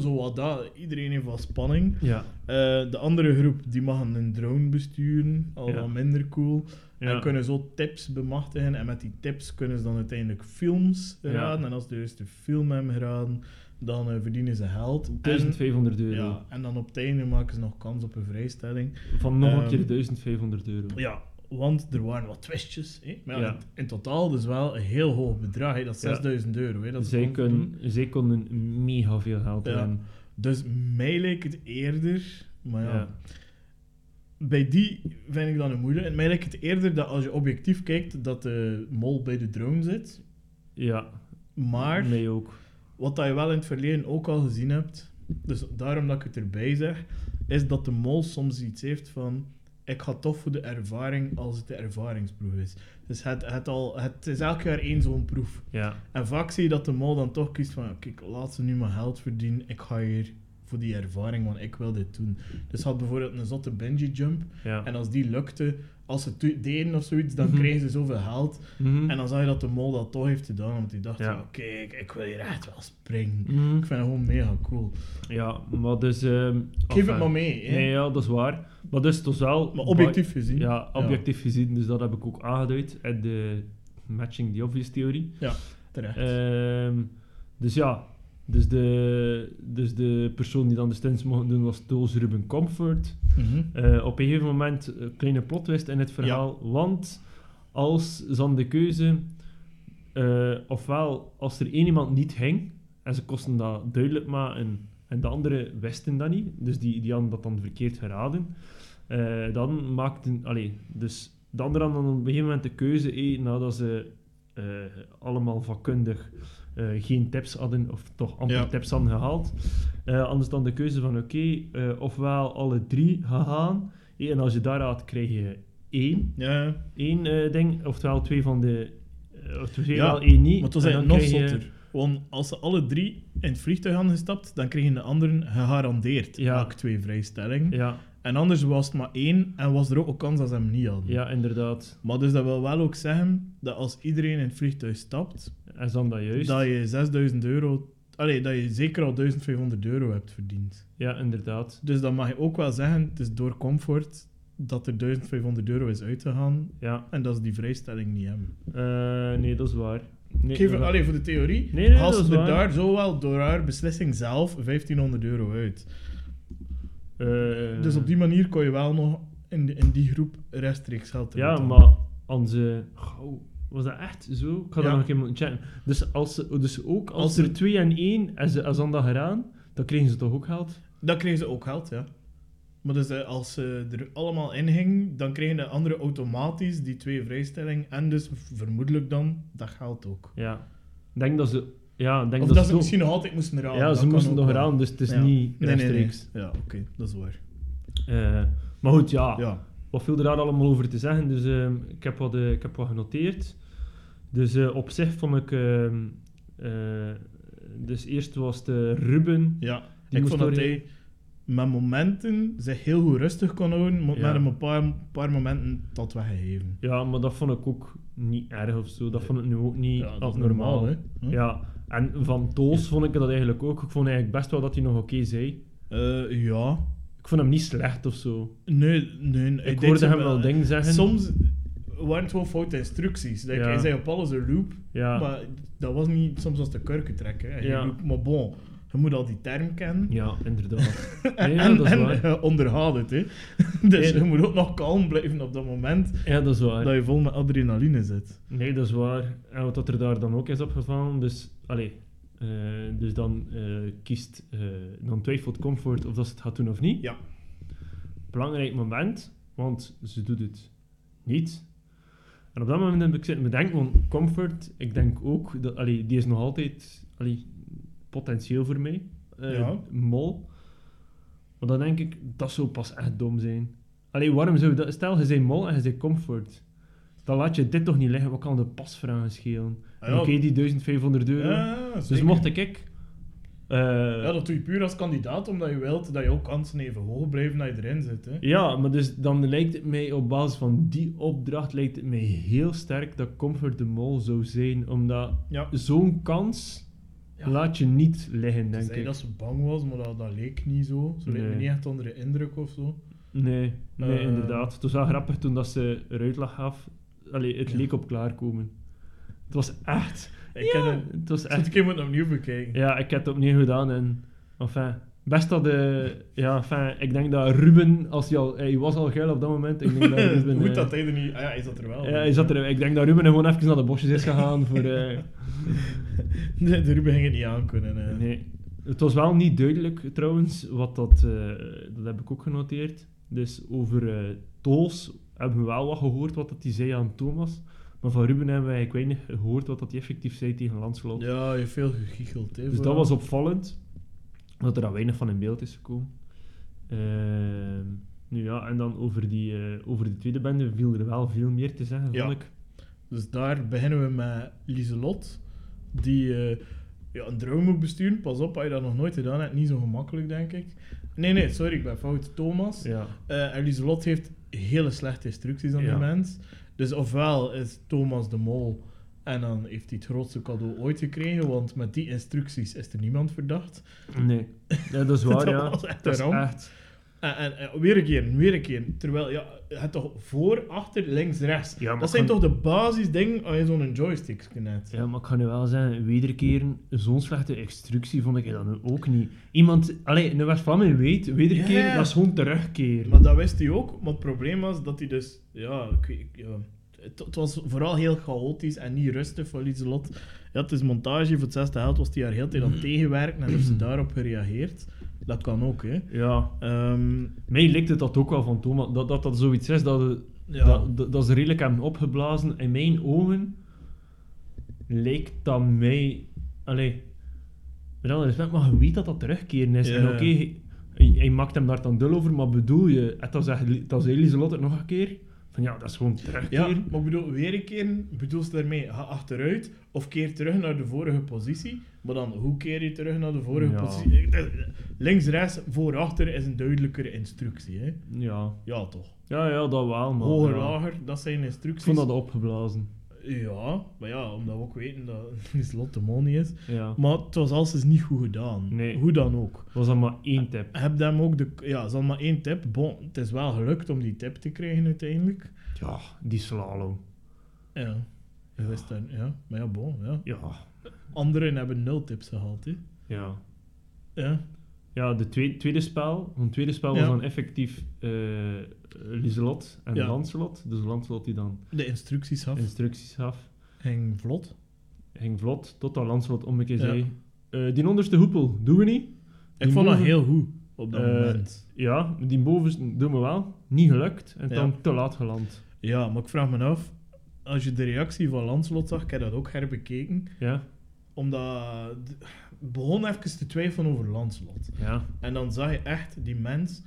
Speaker 1: Zo wat dat. Iedereen heeft wat spanning.
Speaker 2: Ja.
Speaker 1: Eh, de andere groep die mag een drone besturen, al
Speaker 2: Ja.
Speaker 1: wat minder cool. En
Speaker 2: Ja.
Speaker 1: kunnen zo tips bemachtigen. En met die tips kunnen ze dan uiteindelijk films
Speaker 2: Ja.
Speaker 1: raden. En als ze de juiste film hebben geraden, dan eh, verdienen ze geld. En-
Speaker 2: Dus 1500 euro.
Speaker 1: ja, en dan op het einde maken ze nog kans op een vrijstelling.
Speaker 2: Van nog
Speaker 1: Ehm,
Speaker 2: een keer 1500 euro.
Speaker 1: Ja, want er waren wat twistjes. Hè? Maar ja,
Speaker 2: Ja.
Speaker 1: In, in totaal dus wel een heel hoog bedrag. Hè? Dat is
Speaker 2: Ja.
Speaker 1: 6000 euro. Hè? Dat is
Speaker 2: zij,
Speaker 1: ons
Speaker 2: kon,
Speaker 1: doen.
Speaker 2: zij konden mega veel geld
Speaker 1: Ja.
Speaker 2: hebben.
Speaker 1: Dus mij leek het eerder. Maar
Speaker 2: Ja.
Speaker 1: ja. bij die vind ik dan een moeilijk. En mij lijkt het eerder dat als je objectief kijkt, dat de mol bij de drone zit.
Speaker 2: Ja,
Speaker 1: Maar
Speaker 2: mij ook.
Speaker 1: wat dat je wel in het verleden ook al gezien hebt, dus daarom dat ik het erbij zeg, is dat de mol soms iets heeft van... Ik ga toch voor de ervaring als het de ervaringsproef is. Dus het, het, al, het is elk jaar één zo'n proef.
Speaker 2: Ja.
Speaker 1: En vaak zie je dat de mol dan toch kiest van... Kijk, laat ze nu mijn geld verdienen. Ik ga hier voor die ervaring, want ik wil dit doen. Dus had bijvoorbeeld een zotte bungee jump.
Speaker 2: ja.
Speaker 1: En als die lukte, als ze het deden of zoiets, dan
Speaker 2: Mhm.
Speaker 1: kregen ze zoveel geld.
Speaker 2: Mhm.
Speaker 1: En dan zag je dat de mol dat toch heeft gedaan, want die dacht,
Speaker 2: Ja.
Speaker 1: ja. kijk, ik wil hier echt wel springen.
Speaker 2: Mhm.
Speaker 1: Ik vind het gewoon mega cool.
Speaker 2: Ja, maar dus... ehm,
Speaker 1: Geef
Speaker 2: enfin,
Speaker 1: het maar mee, hè.
Speaker 2: Nee, ja, dat is waar. Maar dus toch wel...
Speaker 1: Maar objectief gezien.
Speaker 2: Ja, objectief gezien, dus dat heb ik ook aangeduid. En de matching the obvious theorie.
Speaker 1: terecht.
Speaker 2: Ehm, dus ja, dus de, dus de persoon die dan de stunts mocht doen was Toos Ruben Comfort.
Speaker 1: Mhm.
Speaker 2: Eh, op een gegeven moment een kleine plot twist in het verhaal. Want als ze dan de keuze, eh, ofwel als er één iemand niet ging, en ze kosten dat duidelijk maken, en de anderen wisten dat niet, dus die, die hadden dat dan verkeerd geraden, eh, dan maakten, allee, dus de anderen hadden dan op een gegeven moment de keuze, eh, nadat ze eh, allemaal vakkundig eh, geen tips hadden, of toch amper
Speaker 1: Ja.
Speaker 2: tips hadden gehaald, eh, anders dan de keuze van oké, eh, ofwel alle drie gegaan. Eh, En als je daar raadt, krijg je één,
Speaker 1: Ja, maar
Speaker 2: één eh, ding. Oftewel twee van de... eh, of twee
Speaker 1: Ja,
Speaker 2: wel één niet.
Speaker 1: het was
Speaker 2: en dan
Speaker 1: eigenlijk nog
Speaker 2: krijg je-
Speaker 1: zotter. Want als ze alle drie in het vliegtuig hadden gestapt, dan kregen de anderen gegarandeerd
Speaker 2: Ja.
Speaker 1: elk twee vrijstellingen.
Speaker 2: Ja,
Speaker 1: En anders was het maar één en was er ook een kans dat ze hem niet hadden.
Speaker 2: ja, inderdaad.
Speaker 1: Maar dus dat wil wel ook zeggen dat als iedereen in het vliegtuig stapt,
Speaker 2: En dan dat juist.
Speaker 1: dat je 6000 euro Allee, dat je zeker al 1500 euro hebt verdiend.
Speaker 2: Ja, inderdaad.
Speaker 1: Dus dan mag je ook wel zeggen, het is door comfort dat er 1500 euro is uitgegaan
Speaker 2: Ja,
Speaker 1: en dat ze die vrijstelling niet hebben.
Speaker 2: Eh, nee, dat is waar. Nee,
Speaker 1: Ik geef er
Speaker 2: dat-
Speaker 1: alleen voor de theorie,
Speaker 2: Nee, nee,
Speaker 1: als
Speaker 2: dat is
Speaker 1: ze
Speaker 2: waar.
Speaker 1: daar zo wel door haar beslissing zelf 1500 euro uit.
Speaker 2: Eh,
Speaker 1: Dus op die manier kon je wel nog in, in die groep rechtstreeks geld
Speaker 2: Ja,
Speaker 1: eruit halen.
Speaker 2: maar onze. Gauw. Was dat echt zo? Ik ga
Speaker 1: Ja.
Speaker 2: dat nog een keer moeten checken. Dus, als ze, dus ook als,
Speaker 1: Als
Speaker 2: er
Speaker 1: ze-
Speaker 2: twee en één en ze als aan dat gedaan, dan kregen ze toch ook geld?
Speaker 1: Dan kregen ze ook geld, ja. Maar dus eh, als ze er allemaal in ging, dan kregen de anderen automatisch die twee vrijstelling en dus v- vermoedelijk dan dat geld ook.
Speaker 2: Ja. Ik denk dat ze. Ja, ik denk
Speaker 1: Of dat
Speaker 2: dat, ze
Speaker 1: ze
Speaker 2: toch-
Speaker 1: misschien nog altijd moesten eraan.
Speaker 2: Ja,
Speaker 1: dat
Speaker 2: ze
Speaker 1: kan
Speaker 2: moesten
Speaker 1: ook
Speaker 2: nog
Speaker 1: wel.
Speaker 2: eraan, dus het is
Speaker 1: Ja.
Speaker 2: niet
Speaker 1: Nee, nee, nee.
Speaker 2: rechtstreeks.
Speaker 1: Ja, oké, dat is waar.
Speaker 2: Eh, maar goed, ja.
Speaker 1: Ja.
Speaker 2: wat viel er daar allemaal over te zeggen. Dus ehm, ik, heb wat, eh, ik heb wat genoteerd. Dus eh, op zich vond ik. ehm, eh, dus eerst was de Ruben.
Speaker 1: ja.
Speaker 2: Die
Speaker 1: ik
Speaker 2: moest
Speaker 1: vond dat
Speaker 2: door-
Speaker 1: hij met momenten zich heel goed rustig kon houden, maar
Speaker 2: Ja.
Speaker 1: met een paar, paar momenten dat weggegeven.
Speaker 2: Ja, maar dat vond ik ook niet erg of zo. Dat
Speaker 1: Nee.
Speaker 2: vond ik nu ook niet
Speaker 1: Ja, dat is
Speaker 2: abnormaal.
Speaker 1: normaal, hè? Hm?
Speaker 2: Ja, en van Toos vond ik dat eigenlijk ook. Ik vond eigenlijk best wel dat hij nog oké zei.
Speaker 1: Eh, ja.
Speaker 2: Ik vond hem niet slecht of zo.
Speaker 1: Nee, nee.
Speaker 2: Ik,
Speaker 1: hij deed
Speaker 2: hoorde
Speaker 1: zo
Speaker 2: hem wel dingen zeggen.
Speaker 1: Soms waren het wel foute instructies. Like,
Speaker 2: Ja.
Speaker 1: Hij zei op alles een loop,
Speaker 2: Ja.
Speaker 1: maar dat was niet... Soms was de kurken trekken. hè. Je
Speaker 2: Ja.
Speaker 1: roept, maar bon, je moet al die term kennen.
Speaker 2: ja, inderdaad.
Speaker 1: En,
Speaker 2: Nee, ja,
Speaker 1: en,
Speaker 2: dat is waar.
Speaker 1: eh, onderhaal het, hè. Dus
Speaker 2: Nee.
Speaker 1: je moet ook nog kalm blijven op dat moment
Speaker 2: Ja, dat is waar.
Speaker 1: dat je vol met adrenaline zit.
Speaker 2: Nee, dat is waar. En wat dat er daar dan ook is opgevallen, dus... Allee, eh, dus dan eh, kiest... eh, dan twijfelt Comfort of dat ze het gaat doen of niet.
Speaker 1: Ja.
Speaker 2: Belangrijk moment, want ze doet het niet. En op dat moment heb ik zitten bedenken, want Comfort, ik denk ook... Dat, allee, die is nog altijd allee, potentieel voor mij. Eh,
Speaker 1: Ja.
Speaker 2: Mol. Maar dan denk ik, dat zou pas echt dom zijn. Allee, waarom zou je dat... Stel, je zei Mol en je zei Comfort. Dan laat je dit toch niet liggen, wat kan de pasvragen schelen?
Speaker 1: Ah,
Speaker 2: En Oké, die 1500 euro.
Speaker 1: Ja,
Speaker 2: dus
Speaker 1: zeker.
Speaker 2: mocht ik... ik eh,
Speaker 1: Ja, dat doe je puur als kandidaat, omdat je wilt dat jouw kansen even hoog blijven dat je erin zit. Hè.
Speaker 2: ja, maar dus dan lijkt het mij op basis van die opdracht lijkt het mij heel sterk dat Comfort de Mol zou zijn, omdat
Speaker 1: Ja.
Speaker 2: zo'n kans
Speaker 1: Ja.
Speaker 2: laat je niet liggen,
Speaker 1: Ze
Speaker 2: denk
Speaker 1: zei
Speaker 2: ik.
Speaker 1: dat ze bang was, maar dat, dat leek niet zo. Ze leek me
Speaker 2: Nee.
Speaker 1: niet echt onder de indruk of zo.
Speaker 2: Nee, nee
Speaker 1: Eh.
Speaker 2: inderdaad. Het was wel grappig toen dat ze eruit lag gaf. Allee, het
Speaker 1: Ja.
Speaker 2: leek op klaarkomen. Het was echt...
Speaker 1: Ik
Speaker 2: ja,
Speaker 1: heb hem-
Speaker 2: het was
Speaker 1: Zet
Speaker 2: echt
Speaker 1: ik hem het opnieuw bekijken.
Speaker 2: Ja, ik heb het opnieuw gedaan en... Enfin, best dat de... Ja, enfin, ik denk dat Ruben, als hij al... Hij was al geil op dat moment. Ik denk dat Ruben...
Speaker 1: Goed
Speaker 2: eh,
Speaker 1: dat hij er niet... Ah ja, hij zat er wel.
Speaker 2: ja, hij zat er, ik denk dat Ruben gewoon even naar de bosjes is gegaan voor... eh,
Speaker 1: De, de Ruben ging het niet aankunnen. eh.
Speaker 2: nee. Het was wel niet duidelijk, trouwens, wat dat... eh, dat heb ik ook genoteerd. Dus over eh Toos hebben we wel wat gehoord wat dat hij zei aan Thomas. Maar van Ruben hebben wij eigenlijk weinig gehoord wat dat hij effectief zei tegen Lanslot.
Speaker 1: Ja, je hebt veel gegicheld. Hè,
Speaker 2: Dus dat
Speaker 1: vooral.
Speaker 2: was opvallend, dat er dan weinig van in beeld is gekomen. Ehm, nu ja, en dan over, die, eh, over de tweede bende viel er wel veel meer te zeggen,
Speaker 1: Ja.
Speaker 2: vond ik.
Speaker 1: Dus daar beginnen we met Lieselot, die eh, ja, een droom moet besturen. Pas op, als je dat nog nooit gedaan hebt, niet zo gemakkelijk, denk ik. Nee, nee, sorry, ik ben fout. Thomas.
Speaker 2: Ja.
Speaker 1: Eh, en Lieselot heeft hele slechte instructies aan
Speaker 2: Ja.
Speaker 1: die mens. Dus ofwel is Thomas de mol en dan heeft hij het grootste cadeau ooit gekregen, want met die instructies is er niemand verdacht.
Speaker 2: Nee, ja, dat is waar,
Speaker 1: Dat
Speaker 2: ja.
Speaker 1: was echt
Speaker 2: dat is
Speaker 1: een ramp.
Speaker 2: echt.
Speaker 1: En, en, en weer een keer, weer een keer. Terwijl, ja, het toch voor, achter, links, rechts.
Speaker 2: Ja, maar
Speaker 1: dat zijn
Speaker 2: kan-
Speaker 1: toch de basisdingen als je zo'n joystick net.
Speaker 2: Ja, maar ik ga nu wel zeggen, wederkeren, zo'n slechte instructie vond ik dan ook niet. Iemand, allee, een West-Vlaming weet, wederkeren,
Speaker 1: Ja.
Speaker 2: dat is gewoon terugkeren.
Speaker 1: Maar dat wist hij ook, maar het probleem was dat hij dus, ja, ik weet- ik- ja het, het was vooral heel chaotisch en niet rustig voor Lieselot. Ja, het is montage, voor het zesde geld was hij haar heel tijd aan het
Speaker 2: Mhm.
Speaker 1: tegenwerken en heeft ze daarop gereageerd. Dat kan ook, hè.
Speaker 2: Ja,
Speaker 1: Ehm,
Speaker 2: mij lijkt het dat ook wel van Thomas, dat dat, dat zoiets is dat... het-
Speaker 1: ja,
Speaker 2: Dat, dat, dat is redelijk aan opgeblazen. In mijn ogen lijkt dat mij... Allee, met alle respect, maar je weet dat dat terugkeren is.
Speaker 1: Ja.
Speaker 2: En oké, hij- hij, hij maakt hem daar dan dul over, maar bedoel je... En dan zegt, dan zei Lieselot het nog een keer. Van ja, dat is gewoon
Speaker 1: ja,
Speaker 2: terugkeren.
Speaker 1: maar ik bedoel, weer een keer, bedoel ze daarmee, ga achteruit of keer terug naar de vorige positie. Maar dan, hoe keer je terug naar de vorige
Speaker 2: Ja.
Speaker 1: positie? Ik- dat- Links, rechts, voor, achter is een duidelijkere instructie, hè.
Speaker 2: Ja.
Speaker 1: Ja, toch.
Speaker 2: Ja, ja, dat wel, maar...
Speaker 1: Hoger,
Speaker 2: ja.
Speaker 1: lager, dat zijn
Speaker 2: Ik
Speaker 1: instructies.
Speaker 2: vond dat opgeblazen.
Speaker 1: Ja, maar ja, omdat we ook weten dat het Lotte Mol niet is.
Speaker 2: Ja.
Speaker 1: Maar het was alles dus niet goed gedaan.
Speaker 2: Nee.
Speaker 1: Hoe dan ook.
Speaker 2: was dan maar één tip.
Speaker 1: Heb hem ook de... Ja, het is dan maar één tip. Bon, het is wel gelukt om die tip te krijgen uiteindelijk.
Speaker 2: Ja, die slalom.
Speaker 1: Ja. Je wist dan, ja. Maar ja, bon, ja.
Speaker 2: Ja.
Speaker 1: Anderen hebben nul tips gehaald, hè.
Speaker 2: Ja.
Speaker 1: Ja.
Speaker 2: Ja, de tweede, tweede spel. Want het tweede spel
Speaker 1: Ja.
Speaker 2: was dan effectief eh Lieselot en
Speaker 1: Ja.
Speaker 2: Lancelot. Dus Lancelot die dan
Speaker 1: De instructies af.
Speaker 2: instructies gaf.
Speaker 1: Ging vlot.
Speaker 2: Ging vlot, totdat Lancelot om een keer
Speaker 1: Ja.
Speaker 2: zei... "Eh, die onderste hoepel, doen we niet?
Speaker 1: Ik
Speaker 2: Die
Speaker 1: vond dat
Speaker 2: mogen-
Speaker 1: heel goed op dat
Speaker 2: Eh,
Speaker 1: moment.
Speaker 2: Ja, die bovenste doen we wel. Niet gelukt. En
Speaker 1: Ja.
Speaker 2: dan te laat geland.
Speaker 1: Ja, maar ik vraag me af... Als je de reactie van Lanslot zag, ik heb dat ook herbekeken.
Speaker 2: Ja,
Speaker 1: Omdat... Ik begon even te twijfelen over Lanslot.
Speaker 2: ja.
Speaker 1: En dan zag je echt, die mens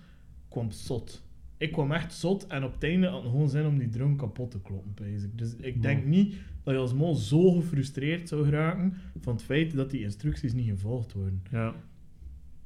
Speaker 1: kwam zot. Ik kwam echt zot en op het einde had het gewoon zin om die drone kapot te kloppen. basic. Dus ik denk
Speaker 2: Man.
Speaker 1: niet dat je als mol zo gefrustreerd zou geraken van het feit dat die instructies niet gevolgd worden.
Speaker 2: Ja,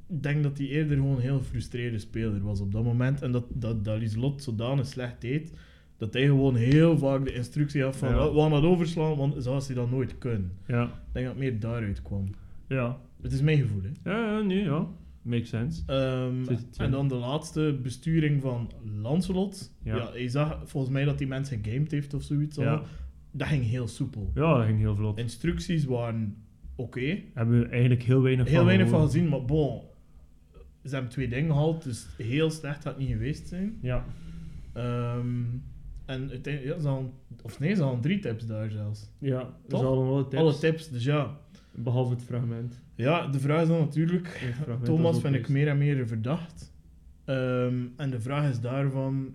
Speaker 1: Ik denk dat hij eerder gewoon een heel gefrustreerde speler was op dat moment. En dat, dat, dat Lieslot zodanig slecht deed dat hij gewoon heel vaak de instructie had van
Speaker 2: Ja.
Speaker 1: we gaan dat overslaan, want zou ze dat nooit kunnen.
Speaker 2: ja,
Speaker 1: Ik denk dat het meer daaruit kwam.
Speaker 2: ja.
Speaker 1: Het is mijn gevoel, hè.
Speaker 2: Ja, ja, nee, ja. Makes sense.
Speaker 1: Ehm,
Speaker 2: Zit het, ja.
Speaker 1: en dan de laatste besturing van Lancelot. Ja.
Speaker 2: Ja.
Speaker 1: je zag volgens mij dat die mens gegamed heeft of zoiets.
Speaker 2: Ja.
Speaker 1: allemaal. Dat ging heel soepel.
Speaker 2: ja, dat ging heel vlot.
Speaker 1: Instructies waren oké.
Speaker 2: Hebben we eigenlijk heel weinig
Speaker 1: Heel weinig van
Speaker 2: gehoord.
Speaker 1: gezien, maar bon. Ze hebben twee dingen gehaald, dus heel slecht had het niet geweest zijn.
Speaker 2: Ja,
Speaker 1: Ehm, en uiteindelijk, ja, ze hadden, of nee, ze hadden drie tips daar zelfs.
Speaker 2: ja.
Speaker 1: Toch?
Speaker 2: Toch? Ze hadden alle tips.
Speaker 1: Alle tips, dus ja.
Speaker 2: Behalve het fragment.
Speaker 1: Ja, de vraag is dan natuurlijk,
Speaker 2: Het fragment was
Speaker 1: Thomas
Speaker 2: ook
Speaker 1: vind ik
Speaker 2: best.
Speaker 1: meer en meer verdacht. Ehm, en de vraag is daarvan...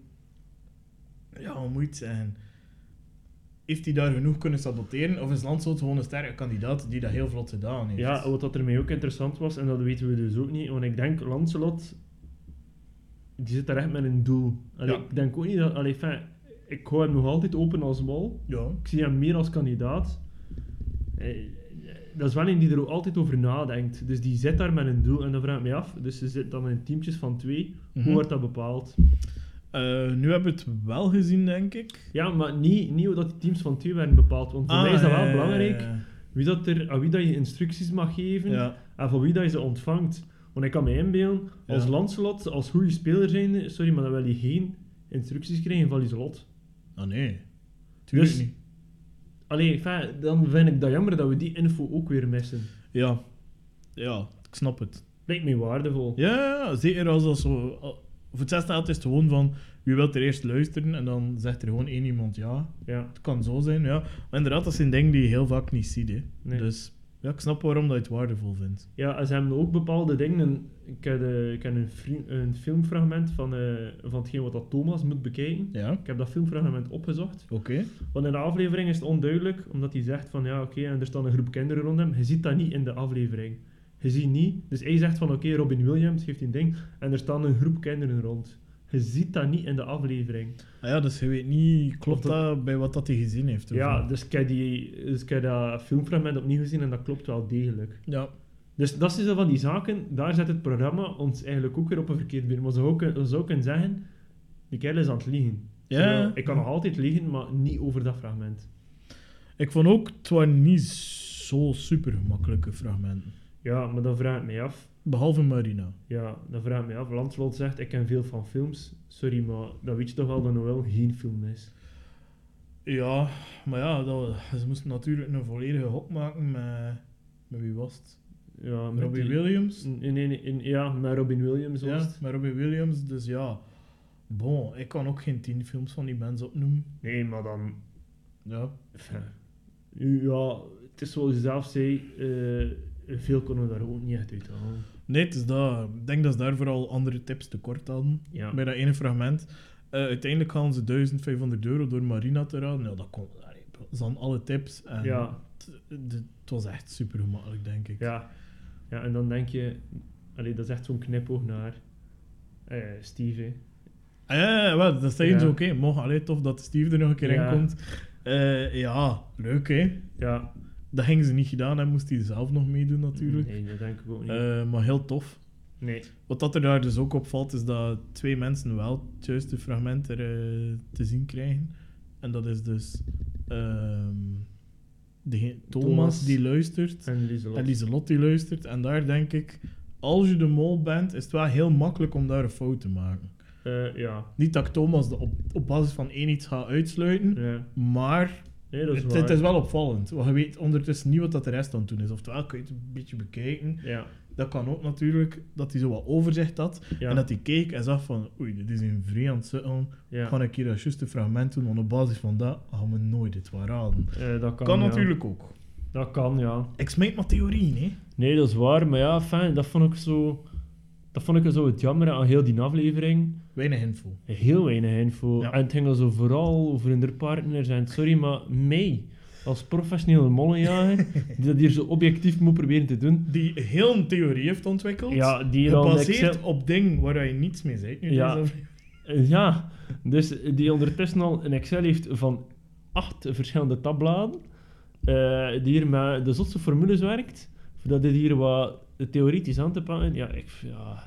Speaker 1: Ja, hoe moet je het zeggen? Heeft hij daar genoeg kunnen saboteren? Of is Landsoot gewoon een sterke kandidaat die dat heel vlot gedaan heeft?
Speaker 2: Ja, wat dat ermee ook interessant was, en dat weten we dus ook niet, want ik denk Lancelot, die zit daar echt met een doel. Allee,
Speaker 1: Ja.
Speaker 2: Ik denk ook niet dat, allee, fijn, ik hou hem nog altijd open als mol.
Speaker 1: Ja.
Speaker 2: Ik zie hem meer als kandidaat. Eh, Dat is wel een die er ook altijd over nadenkt. Dus die zit daar met een doel en dat vraag ik mij af. Dus ze zit dan in teamtjes van twee.
Speaker 1: Mhm.
Speaker 2: Hoe wordt dat bepaald?
Speaker 1: Eh, nu hebben we het wel gezien, denk ik.
Speaker 2: Ja, maar niet, niet hoe dat die teams van twee werden bepaald. Want voor
Speaker 1: Ah,
Speaker 2: mij is dat
Speaker 1: eh,
Speaker 2: wel belangrijk. Wie dat er, aan wie dat je instructies mag geven.
Speaker 1: Ja.
Speaker 2: En van wie dat je ze ontvangt. Want ik kan me inbeelden,
Speaker 1: Ja.
Speaker 2: als Lancelot, als goede speler zijnde, sorry, maar dan wil je geen instructies krijgen van Lieselot.
Speaker 1: Ah, nee. Tuurlijk
Speaker 2: Dus-
Speaker 1: niet.
Speaker 2: Allee, enfin, dan vind ik dat jammer dat we die info ook weer missen.
Speaker 1: Ja. Ja, ik snap het.
Speaker 2: Lijkt me waardevol.
Speaker 1: Ja, ja, ja, zeker als dat zo... al- Voor het zesde is het gewoon van... Wie wil er eerst luisteren? En dan zegt er gewoon één iemand ja.
Speaker 2: Ja.
Speaker 1: Het kan zo zijn, ja. Maar inderdaad, dat zijn dingen die je heel vaak niet ziet. Hè.
Speaker 2: Nee.
Speaker 1: Dus ja, ik snap waarom dat je het waardevol vindt.
Speaker 2: Ja, en ze hebben ook bepaalde dingen. Ik heb, eh, ik heb een, vri- een filmfragment van, eh, van hetgeen wat dat Thomas moet bekijken.
Speaker 1: Ja, oké.
Speaker 2: Ik heb dat filmfragment opgezocht. Want in de aflevering is het onduidelijk, omdat hij zegt van ja, oké, en er staat een groep kinderen rond hem. Je ziet dat niet in de aflevering. Je ziet niet. Dus hij zegt van oké, Robin Williams geeft een ding en er staan een groep kinderen rond. Je ziet dat niet in de aflevering.
Speaker 1: Ah ja, dus je weet niet, klopt
Speaker 2: Of
Speaker 1: dat, bij wat dat hij gezien heeft? of
Speaker 2: Ja,
Speaker 1: niet?
Speaker 2: dus ik, heb die, dus ik heb dat filmfragment opnieuw gezien en dat klopt wel degelijk.
Speaker 1: ja.
Speaker 2: Dus dat is dus een van die zaken, daar zet het programma ons eigenlijk ook weer op een verkeerd been. Maar ze zou kunnen- ze zou kunnen zeggen, die kerel is aan het liegen.
Speaker 1: Ja,
Speaker 2: Terwijl, ik kan nog altijd liegen, maar niet over dat fragment.
Speaker 1: ik vond ook, het waren niet zo super gemakkelijke fragmenten.
Speaker 2: Ja, maar dan vraag ik mij af,
Speaker 1: Behalve Marina.
Speaker 2: Ja, dan vraag ik me af. Lanslot zegt, ik ken veel van films. Sorry, maar dan weet je toch wel dat Noël geen film is.
Speaker 1: Ja, maar ja, dat, ze moesten natuurlijk een volledige hop maken met... Met wie was het?
Speaker 2: Ja, met
Speaker 1: Robbie
Speaker 2: die-
Speaker 1: Williams?
Speaker 2: Nee, nee, nee, in- ja, met Robin Williams was
Speaker 1: Ja,
Speaker 2: het.
Speaker 1: met Robbie Williams. Dus ja, bon, ik kan ook geen tien films van die mensen opnoemen.
Speaker 2: Nee, maar dan...
Speaker 1: Ja.
Speaker 2: enfin, ja, het is zoals je zelf zei, eh, veel kunnen we daar ook niet echt uit halen.
Speaker 1: Nee, het is dat. Ik denk dat ze daar vooral andere tips tekort hadden.
Speaker 2: Ja.
Speaker 1: Bij dat ene fragment. Eh, uiteindelijk gaan ze 1500 euro door Marina te raden. Nou, dat kon. allee, bro, Ze hadden alle tips. En
Speaker 2: Ja,
Speaker 1: het, het- het was echt super gemakkelijk, denk ik.
Speaker 2: ja. Ja, en dan denk je... Allee, dat is echt zo'n knipoog naar eh, Steve, hè.
Speaker 1: Ah, ja, ja, wel, dat zijn
Speaker 2: Ja.
Speaker 1: ze oké. Mocht alleen tof dat Steve er nog een keer
Speaker 2: Ja.
Speaker 1: in komt. Eh, ja, leuk hè.
Speaker 2: Ja.
Speaker 1: Dat gingen ze niet gedaan en moest hij zelf nog meedoen, natuurlijk.
Speaker 2: Nee, dat denk ik ook niet.
Speaker 1: Eh, maar heel tof.
Speaker 2: nee.
Speaker 1: Wat dat er daar dus ook opvalt, is dat twee mensen wel het juiste fragment er eh, te zien krijgen. En dat is dus ehm, dege- Thomas,
Speaker 2: Thomas.
Speaker 1: die luistert
Speaker 2: En Lieselot.
Speaker 1: en Lieselot die luistert. En daar denk ik, als je de mol bent, is het wel heel makkelijk om daar een fout te maken.
Speaker 2: Eh, ja.
Speaker 1: Niet dat ik Thomas de- op, op basis van één iets ga uitsluiten,
Speaker 2: ja.
Speaker 1: maar
Speaker 2: Nee, dat is
Speaker 1: het,
Speaker 2: waar.
Speaker 1: het is wel opvallend. Want je weet ondertussen niet wat dat de rest aan het doen is. Oftewel kun je het een beetje bekijken.
Speaker 2: Ja.
Speaker 1: Dat kan ook natuurlijk, dat hij zo wat overzicht had.
Speaker 2: Ja.
Speaker 1: En dat hij keek en zag van, oei, dit is een vreemd zitten.
Speaker 2: ja.
Speaker 1: Ga ik hier dat juiste fragment doen, want op basis van dat gaan we nooit dit waar raden.
Speaker 2: Eh, dat kan,
Speaker 1: Kan,
Speaker 2: ja.
Speaker 1: natuurlijk ook.
Speaker 2: Dat kan, ja.
Speaker 1: Ik smijt maar theorieën, hè.
Speaker 2: Nee, dat is waar. Maar ja, fijn, dat vond ik zo... Dat vond ik zo het jammer aan heel die aflevering.
Speaker 1: Weinig info.
Speaker 2: Heel weinig info.
Speaker 1: Ja.
Speaker 2: En het ging dan zo vooral over hun partners. En sorry, maar mij, als professionele mollenjager, die dat hier zo objectief moet proberen te doen.
Speaker 1: Die heel een theorie heeft ontwikkeld.
Speaker 2: Ja, die dan
Speaker 1: gebaseerd
Speaker 2: Excel-
Speaker 1: op ding waar je niets mee zegt. Nu dus
Speaker 2: Ja.
Speaker 1: deze aflevering.
Speaker 2: Eh, Ja, dus die ondertussen al een Excel heeft van acht verschillende tabbladen. eh, die hier met de zotse formules werkt. Voordat dit hier wat theoretisch aan te pakken. Ja, ik... Ja...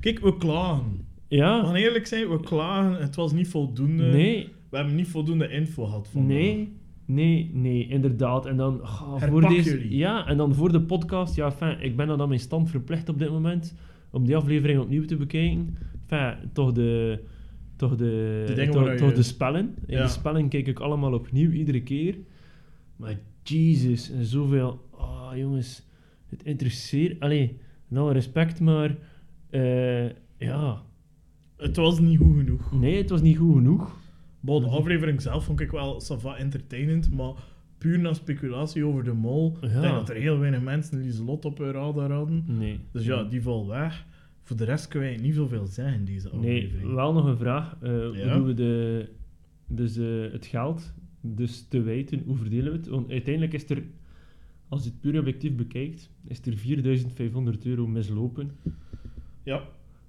Speaker 1: Kijk, we klagen. We
Speaker 2: ja
Speaker 1: gaan eerlijk zijn, we klagen. Het was niet voldoende.
Speaker 2: nee,
Speaker 1: We hebben niet voldoende info gehad van
Speaker 2: Nee, nee, nee, inderdaad. En dan ah, voor
Speaker 1: Herpak
Speaker 2: deze,
Speaker 1: jullie.
Speaker 2: ja, en dan voor de podcast, ja, fijn, ik ben dan aan mijn stand verplicht op dit moment om die aflevering opnieuw te bekijken. Fijn, toch de, toch de,
Speaker 1: De dingen
Speaker 2: toch,
Speaker 1: waar
Speaker 2: toch
Speaker 1: je-
Speaker 2: de spellen. In
Speaker 1: Ja.
Speaker 2: de spellen kijk ik allemaal opnieuw iedere keer. Maar Jesus, en zoveel, ah jongens, het interesseert. Allee, met alle respect, maar eh, ja,
Speaker 1: Het was niet goed genoeg.
Speaker 2: nee, het was niet goed genoeg.
Speaker 1: Bon,
Speaker 2: Mhm.
Speaker 1: de aflevering zelf vond ik wel sava entertainend, maar puur na speculatie over de mol,
Speaker 2: Ja.
Speaker 1: ik denk dat er heel weinig mensen Lieselot op hun radar hadden.
Speaker 2: Nee.
Speaker 1: Dus ja, die valt weg. Voor de rest kunnen wij niet zoveel zeggen in deze
Speaker 2: Nee,
Speaker 1: aflevering.
Speaker 2: wel nog een vraag. Eh, Hoe
Speaker 1: Ja?
Speaker 2: doen we de, dus, eh, het geld dus te wijten? Hoe verdelen we het? Want uiteindelijk is er, als je het puur objectief bekijkt, is er 4500 euro mislopen.
Speaker 1: Ja,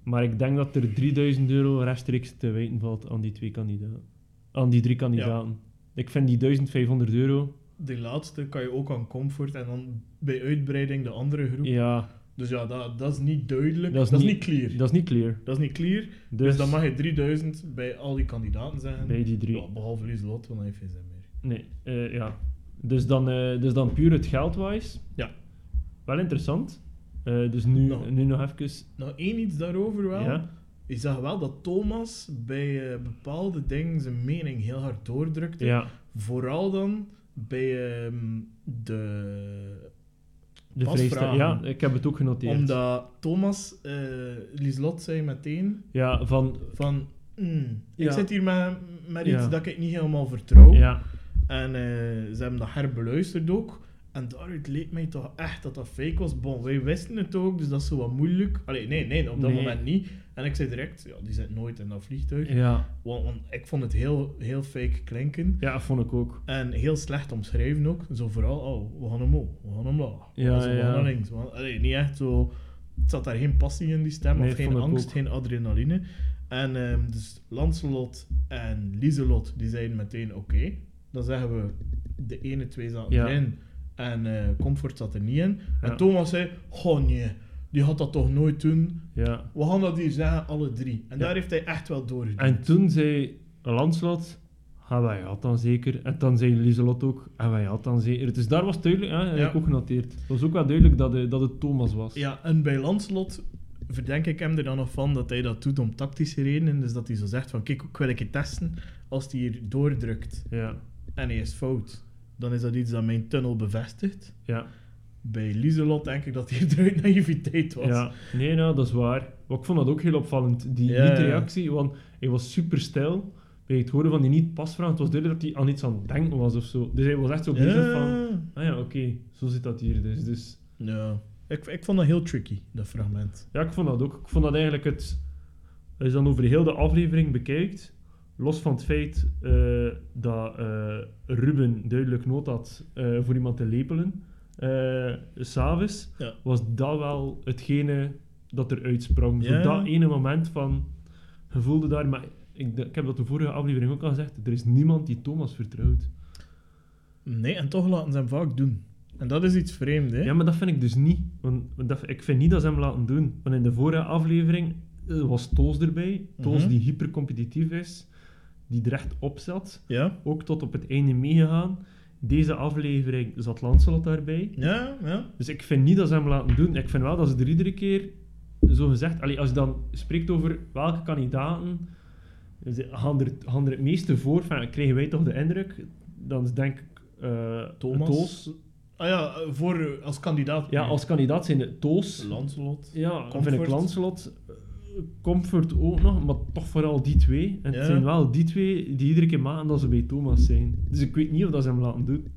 Speaker 2: Maar ik denk dat er 3000 euro rechtstreeks te wijten valt aan die twee kandidaten. Aan die drie kandidaten. Ik vind die 1500 euro.
Speaker 1: die laatste kan je ook aan comfort en dan bij uitbreiding de andere groep.
Speaker 2: Ja,
Speaker 1: Dus ja, dat, dat is niet duidelijk.
Speaker 2: Dat is niet-
Speaker 1: niet clear.
Speaker 2: dat is niet clear.
Speaker 1: Dat is niet clear.
Speaker 2: Dus,
Speaker 1: Dus, dan mag je 3000 bij al die kandidaten zeggen.
Speaker 2: bij die drie.
Speaker 1: Ja, behalve Lieselot, want hij heeft geen zin meer.
Speaker 2: Nee, eh, ja. Dus dan, eh, dus dan puur het geldwijs.
Speaker 1: Ja.
Speaker 2: Wel interessant. Eh, dus nu,
Speaker 1: Nou.
Speaker 2: nu nog even.
Speaker 1: Nog één iets daarover wel.
Speaker 2: Ja.
Speaker 1: Ik zag wel dat Thomas bij eh, bepaalde dingen zijn mening heel hard doordrukte.
Speaker 2: ja.
Speaker 1: Vooral dan bij ehm, de...
Speaker 2: De
Speaker 1: Pas
Speaker 2: vrijstelling. Ja,
Speaker 1: vragen.
Speaker 2: ik heb het ook genoteerd.
Speaker 1: Omdat Thomas, eh Lieslot zei meteen
Speaker 2: Ja, van.
Speaker 1: van... "Hmm, ik
Speaker 2: Ja.
Speaker 1: zit hier met, met iets
Speaker 2: Ja.
Speaker 1: dat ik niet helemaal vertrouw.
Speaker 2: Ja,
Speaker 1: En eh, ze hebben dat herbeluisterd ook. En daaruit leek mij toch echt dat dat fake was. Bon, wij wisten het ook, dus dat is zo wat moeilijk. Allee, nee, nee, op dat
Speaker 2: Nee.
Speaker 1: moment niet. En ik zei direct, ja, die zit nooit in dat vliegtuig.
Speaker 2: ja,
Speaker 1: Want, want ik vond het heel, heel fake klinken.
Speaker 2: ja, vond ik ook.
Speaker 1: En heel slecht omschrijven ook. Zo vooral, oh, we gaan omhoog, we gaan omlaag.
Speaker 2: Ja,
Speaker 1: Zo, we
Speaker 2: ja.
Speaker 1: gaan naar links. we gaan- allee, niet echt zo... Het zat daar geen passie in die stem,
Speaker 2: Nee,
Speaker 1: of geen
Speaker 2: vond ik
Speaker 1: angst,
Speaker 2: ook.
Speaker 1: geen adrenaline. En ehm, dus Lancelot en Lieselot, die zeiden meteen, oké. Dan zeggen we, de ene twee zaten
Speaker 2: Ja.
Speaker 1: erin. En eh, Comfort zat er niet in.
Speaker 2: Ja.
Speaker 1: En Thomas zei, goh nee, die had dat toch nooit doen.
Speaker 2: Ja.
Speaker 1: We gaan dat hier zeggen, alle drie. En
Speaker 2: Ja.
Speaker 1: daar heeft hij echt wel doorgedaan.
Speaker 2: En toen zei Landslot. Ah, wij had dan zeker. En dan zei Lieselot ook. En wij had dan zeker. Dus daar was duidelijk. Hè, heb
Speaker 1: Ja.
Speaker 2: ik ook genoteerd. Het was ook wel duidelijk dat, eh, dat het Thomas was.
Speaker 1: Ja, en bij Lanslot verdenk ik hem er dan nog van dat hij dat doet om tactische redenen. Dus dat hij zo zegt van, kijk, ik wil ik je testen. Als hij hier doordrukt
Speaker 2: Ja.
Speaker 1: en hij is fout, dan is dat iets dat mijn tunnel bevestigt.
Speaker 2: ja.
Speaker 1: Bij Lieselot denk ik dat hier eruit naïviteit was.
Speaker 2: Ja, nee, nou, dat is waar. Maar ik vond dat ook heel opvallend, die
Speaker 1: Ja,
Speaker 2: niet-reactie. Want hij was super stijl bij het horen van die niet-pasvraag. Het was duidelijk dat hij aan iets aan het denken was of zo. Dus hij was echt zo bezig van...
Speaker 1: Ja.
Speaker 2: Ah ja, oké, zo zit dat hier dus. dus.
Speaker 1: Ja. Ik, ik vond dat heel tricky, dat fragment.
Speaker 2: Ja, ik vond dat ook. Ik vond dat eigenlijk het... Als je dan over heel de aflevering bekijkt... Los van het feit eh, dat eh, Ruben duidelijk nood had eh, voor iemand te lepelen... eh S'avonds
Speaker 1: Ja.
Speaker 2: was dat wel hetgene dat er uitsprong.
Speaker 1: Ja.
Speaker 2: Voor dat ene moment van... Je voelde daar... Maar ik, ik heb dat de vorige aflevering ook al gezegd. Er is niemand die Thomas vertrouwt.
Speaker 1: Nee, en toch laten ze hem vaak doen. En dat is iets vreemd, hè?
Speaker 2: Ja, maar dat vind ik dus niet. Want want dat, ik vind niet dat ze hem laten doen. Want in de vorige aflevering eh, was Toos erbij. Toos
Speaker 1: Mhm.
Speaker 2: die hypercompetitief is. die er echt op zat.
Speaker 1: Ja,
Speaker 2: Ook tot op het einde meegegaan. Deze aflevering zat Lancelot daarbij.
Speaker 1: ja, ja.
Speaker 2: Dus ik vind niet dat ze hem laten doen. Ik vind wel dat ze er iedere keer zo gezegd. Allee, als je dan spreekt over welke kandidaten ze- gaan er, gaan er het meeste voor, van, kregen wij toch de indruk? Dan denk ik eh
Speaker 1: Thomas.
Speaker 2: Toos.
Speaker 1: Ah ja, eh, voor, eh, als kandidaat.
Speaker 2: Ja, als kandidaat zijn het Toos.
Speaker 1: Lancelot.
Speaker 2: Ja, dan vind ik
Speaker 1: Comfort.
Speaker 2: Lancelot. eh, Comfort ook nog, maar toch vooral die twee. En
Speaker 1: Ja.
Speaker 2: het zijn wel die twee die iedere keer maken dat ze bij Thomas zijn. Dus ik weet niet of dat ze hem laten doen.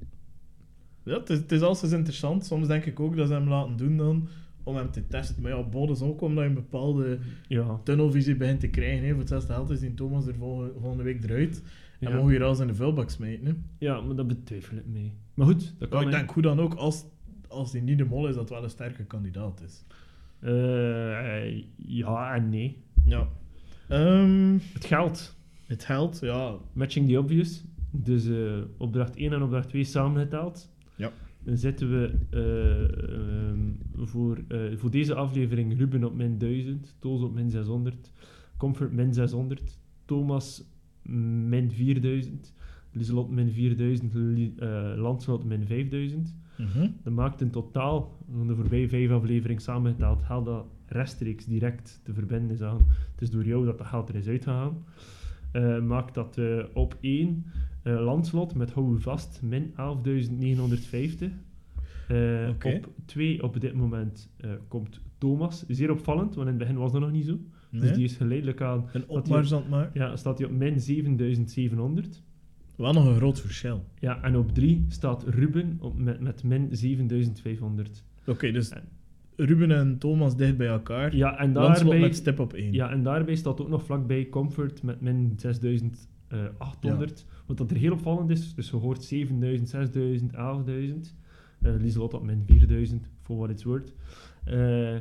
Speaker 1: Ja, het is, het is alleszins interessant. Soms denk ik ook dat ze hem laten doen dan, om hem te testen. Maar ja, bod is ook omdat je een bepaalde
Speaker 2: Ja.
Speaker 1: tunnelvisie begint te krijgen. Hè. Voor hetzelfde geld is die Thomas er volgende, volgende week eruit. En
Speaker 2: Ja.
Speaker 1: mogen we hier alles in de vuilbak smijten. Hè.
Speaker 2: ja, maar dat betwijfel ik mee. Maar goed, dat kan
Speaker 1: Maar Oh, ik
Speaker 2: hè.
Speaker 1: denk hoe dan ook, als, als die niet de mol is, dat wel een sterke kandidaat is.
Speaker 2: Eh, ja en nee.
Speaker 1: Ja. Ehm,
Speaker 2: Het geld.
Speaker 1: het geld, ja.
Speaker 2: Matching the obvious. Dus eh, opdracht 1 en opdracht 2 samengeteld.
Speaker 1: Ja.
Speaker 2: Dan zetten we eh, ehm, voor, eh, voor deze aflevering Ruben op min 1000, Toos op min 600, Comfort min 600, Thomas min 4000, Lieselot min 4000, Li- eh, Lancelot min 5000.
Speaker 1: Mhm.
Speaker 2: Dat maakt in totaal, van de voorbije vijf afleveringen samengeteld, geld dat rechtstreeks direct te verbinden is aan. Het is door jou dat dat geld er is uitgegaan. Eh, maakt dat eh, op één eh landslot met hou u vast min 11.950. Eh,
Speaker 1: Oké.
Speaker 2: Op twee op dit moment eh, komt Thomas. Zeer opvallend, want in het begin was dat nog niet zo.
Speaker 1: Nee.
Speaker 2: Dus die is geleidelijk aan,
Speaker 1: Een opmars aan het maken.
Speaker 2: ja, staat hij op min 7.700.
Speaker 1: Wel nog een groot verschil.
Speaker 2: Ja, en op 3 staat Ruben op, met, met min 7500.
Speaker 1: Oké, dus Ruben en Thomas dicht bij elkaar.
Speaker 2: Ja en,
Speaker 1: Lancelot
Speaker 2: daarbij,
Speaker 1: met stip op één.
Speaker 2: ja, en daarbij staat ook nog vlakbij Comfort met min 6800. Wat dat er heel opvallend is, dus je hoort 7000, 6000, 11000. Eh Lieselot op min 4000, voor wat het wordt. Eh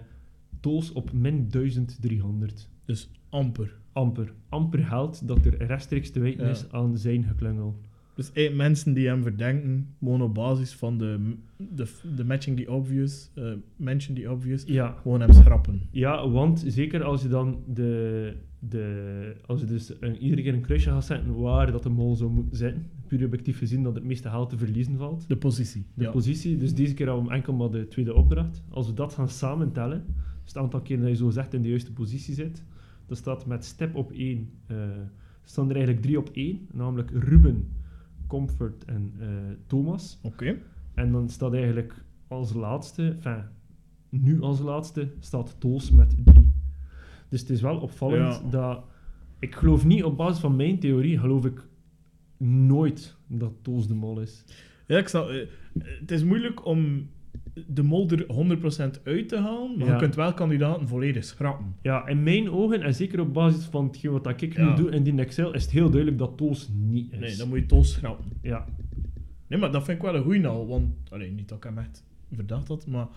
Speaker 2: Toos op min 1300.
Speaker 1: Dus amper.
Speaker 2: Amper. Amper geld dat er rechtstreeks te wijten
Speaker 1: Ja.
Speaker 2: is aan zijn geklungel.
Speaker 1: Dus eh, mensen die hem verdenken, gewoon op basis van de, de, de matching die obvious, eh mention die obvious,
Speaker 2: Ja,
Speaker 1: gewoon hem schrappen.
Speaker 2: Ja, want zeker als je dan de, de als je dus een, iedere keer een kruisje gaat zetten waar dat de mol zou moeten zitten, puur objectief gezien dat het meeste geld te verliezen valt.
Speaker 1: De positie.
Speaker 2: De
Speaker 1: ja.
Speaker 2: positie, dus deze keer hadden we enkel maar de tweede opdracht. Als we dat gaan samentellen, dus het aantal keer dat je zo zegt in de juiste positie zit, dan staat met step op 1, staan er eigenlijk drie op één, namelijk Ruben, Comfort en eh, Thomas.
Speaker 1: Oké.
Speaker 2: En dan staat eigenlijk als laatste, enfin, nu als laatste, staat Toos met 3. Dus het is wel opvallend
Speaker 1: Ja.
Speaker 2: dat... Ik geloof niet, op basis van mijn theorie, geloof ik nooit dat Toos de mol is.
Speaker 1: Ja, ik snap. eh, eh, het is moeilijk om de mol er 100% uit te halen, maar
Speaker 2: Ja.
Speaker 1: je kunt wel kandidaten volledig schrappen.
Speaker 2: Ja, in mijn ogen, en zeker op basis van hetgeen wat ik
Speaker 1: Ja.
Speaker 2: nu doe in die Excel, is het heel duidelijk dat Toos niet is.
Speaker 1: Nee, dan moet je Toos schrappen.
Speaker 2: Ja,
Speaker 1: Nee, maar dat vind ik wel een goeie nou, want... Allee, niet dat ik hem echt verdacht had, maar...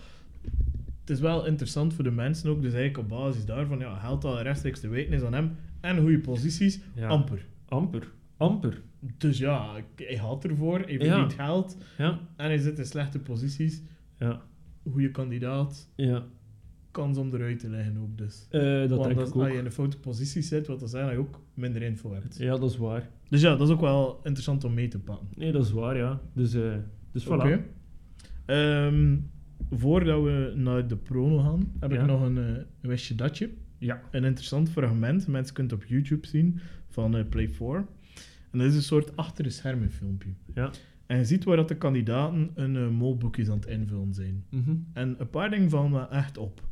Speaker 1: Het is wel interessant voor de mensen ook, dus eigenlijk op basis daarvan, ja, geldt dat rechtstreeks te weten is aan hem, en goede posities,
Speaker 2: ja.
Speaker 1: amper.
Speaker 2: amper. Amper.
Speaker 1: Dus ja, ik- hij had ervoor, hij
Speaker 2: Ja.
Speaker 1: verdient geld,
Speaker 2: Ja,
Speaker 1: en hij zit in slechte posities.
Speaker 2: ja,
Speaker 1: Goede kandidaat,
Speaker 2: ja.
Speaker 1: kans om eruit te leggen ook, dus...
Speaker 2: Eh, dat
Speaker 1: Want
Speaker 2: denk
Speaker 1: als
Speaker 2: ik ook.
Speaker 1: als je in een foute positie zit, wat dan zijn dat je ook minder info hebt.
Speaker 2: Ja, dat is waar.
Speaker 1: Dus ja, dat is ook wel interessant om mee te pakken.
Speaker 2: Nee, dat is waar, ja. Dus, eh dus voilà.
Speaker 1: Oké. Ehm, voordat we naar de prono gaan, heb
Speaker 2: Ja.
Speaker 1: ik nog een eh wistje datje.
Speaker 2: Ja.
Speaker 1: Een interessant fragment, mensen kunnen het op YouTube zien, van eh, Play 4. En dat is een soort achter de schermen filmpje.
Speaker 2: Ja.
Speaker 1: En je ziet waar dat de kandidaten een eh, molboekjes aan het invullen zijn.
Speaker 2: Mhm.
Speaker 1: En een paar dingen vallen me echt op.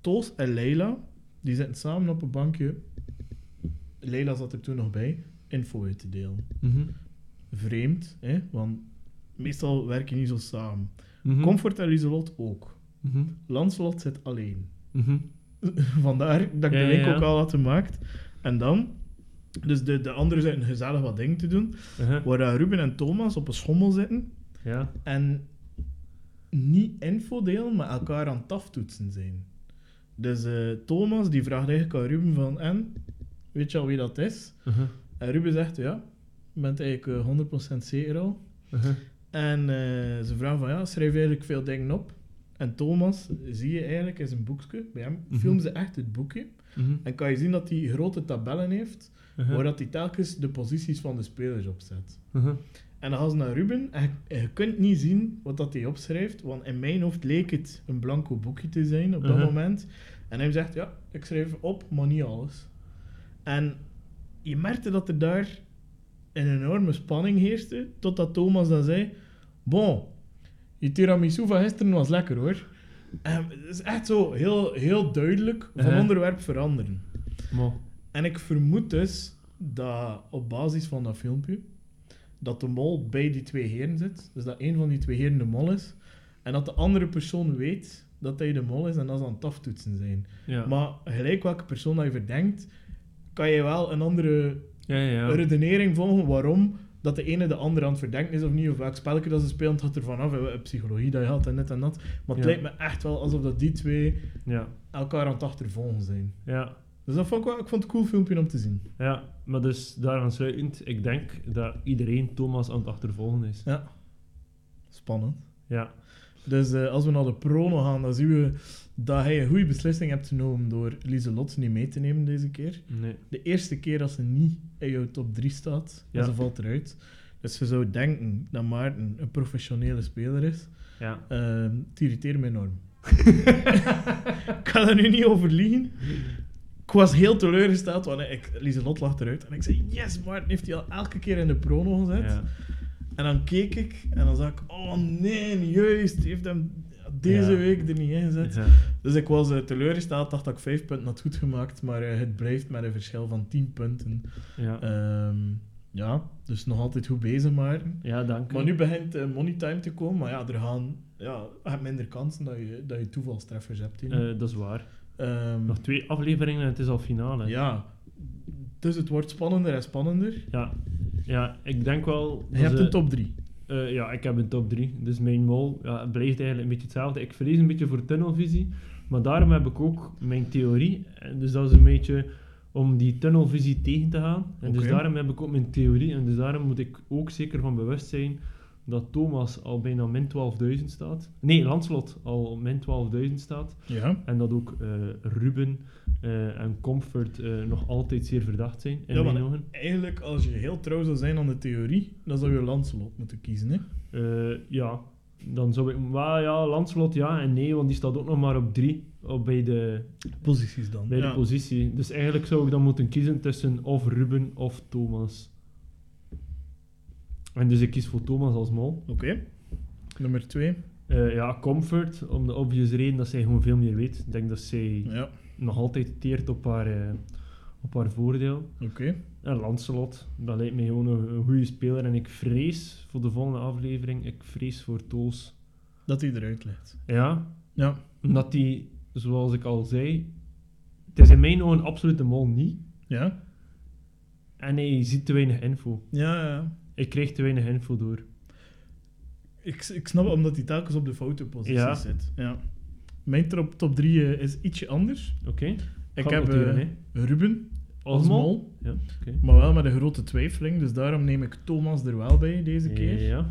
Speaker 1: Toos en Leila, die zitten samen op een bankje. Leila zat er toen nog bij, info uit te delen.
Speaker 2: Mhm.
Speaker 1: Vreemd, hè? want meestal werk je niet zo samen.
Speaker 2: Mhm.
Speaker 1: Comfort en Lieselot ook.
Speaker 2: Mhm.
Speaker 1: Lancelot zit alleen.
Speaker 2: Mhm.
Speaker 1: Vandaar dat ik
Speaker 2: Ja,
Speaker 1: de
Speaker 2: ja,
Speaker 1: link
Speaker 2: ja.
Speaker 1: ook al had gemaakt. En dan, dus de, de anderen zitten gezellig wat dingen te doen.
Speaker 2: Aha.
Speaker 1: Waar eh, Ruben en Thomas op een schommel zitten
Speaker 2: Mhm. Ja.
Speaker 1: en niet info delen, maar elkaar aan het aftoetsen zijn. Dus eh, Thomas die vraagt eigenlijk aan Ruben van, en? Weet je al wie dat is?
Speaker 2: Aha.
Speaker 1: En Ruben zegt, ja, ik ben het eigenlijk eh, 100% zeker al.
Speaker 2: Aha.
Speaker 1: En eh, ze vragen van ja, schrijf eigenlijk veel dingen op. En Thomas, zie je eigenlijk, is een boekje bij hem.
Speaker 2: Mhm.
Speaker 1: Film ze echt het boekje.
Speaker 2: Mhm.
Speaker 1: En kan je zien dat hij grote tabellen heeft,
Speaker 2: Mhm.
Speaker 1: waar dat hij telkens de posities van de spelers opzet.
Speaker 2: Mhm.
Speaker 1: En dan gaan ze naar Ruben en je, en je kunt niet zien wat dat hij opschrijft, want in mijn hoofd leek het een blanco boekje te zijn op dat
Speaker 2: Mhm.
Speaker 1: moment. En hij zegt, ja, ik schrijf op, maar niet alles. En je merkte dat er daar een enorme spanning heerste, totdat Thomas dan zei, bon, je tiramisu van gisteren was lekker hoor. En het is echt zo heel, heel duidelijk van
Speaker 2: Mhm.
Speaker 1: onderwerp veranderen.
Speaker 2: Maar,
Speaker 1: En ik vermoed dus dat op basis van dat filmpje, dat de mol bij die twee heren zit. Dus dat een van die twee heren de mol is. En dat de andere persoon weet dat hij de mol is en dat ze aan het aftoetsen zijn.
Speaker 2: ja.
Speaker 1: Maar gelijk welke persoon dat je verdenkt, kan je wel een andere
Speaker 2: ja, ja, ja.
Speaker 1: redenering volgen waarom dat de ene de andere aan het verdenken is of niet. Of welk spelletje dat ze spelen, het gaat er vanaf. En welke psychologie dat je had en dit en dat. Maar het
Speaker 2: Ja.
Speaker 1: lijkt me echt wel alsof dat die twee
Speaker 2: ja,
Speaker 1: elkaar aan het achtervolgen zijn.
Speaker 2: ja,
Speaker 1: Dus dat vond ik wel, ik vond het een cool filmpje om te zien.
Speaker 2: ja. Maar dus daaraan sluitend, ik denk dat iedereen Thomas aan het achtervolgen is.
Speaker 1: Ja. Spannend.
Speaker 2: Ja,
Speaker 1: Dus eh, als we naar de prono gaan, dan zien we dat hij een goede beslissing hebt genomen door Lieselot niet mee te nemen deze keer.
Speaker 2: nee.
Speaker 1: De eerste keer dat ze niet in jouw top 3 staat, en
Speaker 2: Ja.
Speaker 1: ze valt eruit. Dus je zou denken dat Maarten een professionele speler is.
Speaker 2: Ja.
Speaker 1: Ehm het irriteert me enorm. ik ga daar nu niet over liegen. Ik was heel teleurgesteld, want ik, Lieselot lag eruit. En ik zei, yes, Maarten heeft hij al elke keer in de prono gezet.
Speaker 2: Ja.
Speaker 1: En dan keek ik en dan zag ik, oh nee, juist, die heeft hem deze
Speaker 2: Ja.
Speaker 1: week er niet in gezet.
Speaker 2: Ja.
Speaker 1: Dus ik was eh, teleurgesteld, dacht dat ik vijf punten had goed gemaakt, maar eh, het blijft met een verschil van tien punten.
Speaker 2: Ja.
Speaker 1: Ehm, ja, dus nog altijd goed bezig, Maarten.
Speaker 2: ja, dank u.
Speaker 1: Maar nu begint eh, money time te komen, maar ja, er gaan ja, je hebt minder kansen dat je, dat je toevalstreffers hebt. in.
Speaker 2: Eh, dat is waar.
Speaker 1: Ehm,
Speaker 2: Nog twee afleveringen en het is al finale.
Speaker 1: ja, dus het wordt spannender en spannender.
Speaker 2: Ja, ja ik denk wel... dat
Speaker 1: Je hebt
Speaker 2: ze-
Speaker 1: een top 3.
Speaker 2: eh, ja, ik heb een top 3. Dus mijn mol ja, het blijft eigenlijk een beetje hetzelfde. Ik verlies een beetje voor tunnelvisie. Maar daarom heb ik ook mijn theorie. En dus dat is een beetje om die tunnelvisie tegen te gaan. En dus
Speaker 1: Oké.
Speaker 2: daarom heb ik ook mijn theorie. En dus daarom moet ik ook zeker van bewust zijn dat Thomas al bijna min 12.000 staat. Nee, Lanslot al op min 12.000 staat.
Speaker 1: Ja.
Speaker 2: En dat ook eh, Ruben eh, en Comfort eh, nog altijd zeer verdacht zijn, in
Speaker 1: Ja, maar-
Speaker 2: mijn ogen.
Speaker 1: Eigenlijk, als je heel trouw zou zijn aan de theorie, dan zou je Lancelot moeten kiezen. Hè?
Speaker 2: Eh, ja, dan zou ik... Maar ja, Lanslot ja en nee, want die staat ook nog maar op drie op, bij, de,
Speaker 1: Posities dan.
Speaker 2: bij de positie. Dus eigenlijk zou ik dan moeten kiezen tussen of Ruben of Thomas. En dus ik kies voor Thomas als mol.
Speaker 1: Oké. Nummer 2.
Speaker 2: Eh, ja, Comfort, om de obvious reden dat zij gewoon veel meer weet. Ik denk dat zij
Speaker 1: Ja,
Speaker 2: nog altijd teert op haar, eh, op haar voordeel.
Speaker 1: oké.
Speaker 2: En Eh, Lancelot, dat lijkt mij gewoon een, een goede speler. En ik vrees voor de volgende aflevering, ik vrees voor Toos.
Speaker 1: Dat hij eruit legt.
Speaker 2: Ja,
Speaker 1: Ja,
Speaker 2: omdat die, zoals ik al zei, het is in mijn ogen absoluut de mol niet.
Speaker 1: ja,
Speaker 2: En hij ziet te weinig info.
Speaker 1: ja. ja.
Speaker 2: Ik kreeg te weinig info door.
Speaker 1: Ik, ik snap het, omdat hij telkens op de foute positie
Speaker 2: Ja.
Speaker 1: zit. Ja. Mijn top, top 3 is ietsje anders.
Speaker 2: Oké.
Speaker 1: Ik
Speaker 2: Gaat
Speaker 1: heb
Speaker 2: noteren,
Speaker 1: eh,
Speaker 2: hè.
Speaker 1: Ruben als
Speaker 2: Osmo?
Speaker 1: mol,
Speaker 2: Ja, oké.
Speaker 1: maar wel met een grote twijfeling. Dus daarom neem ik Thomas er wel bij deze keer.
Speaker 2: Ja,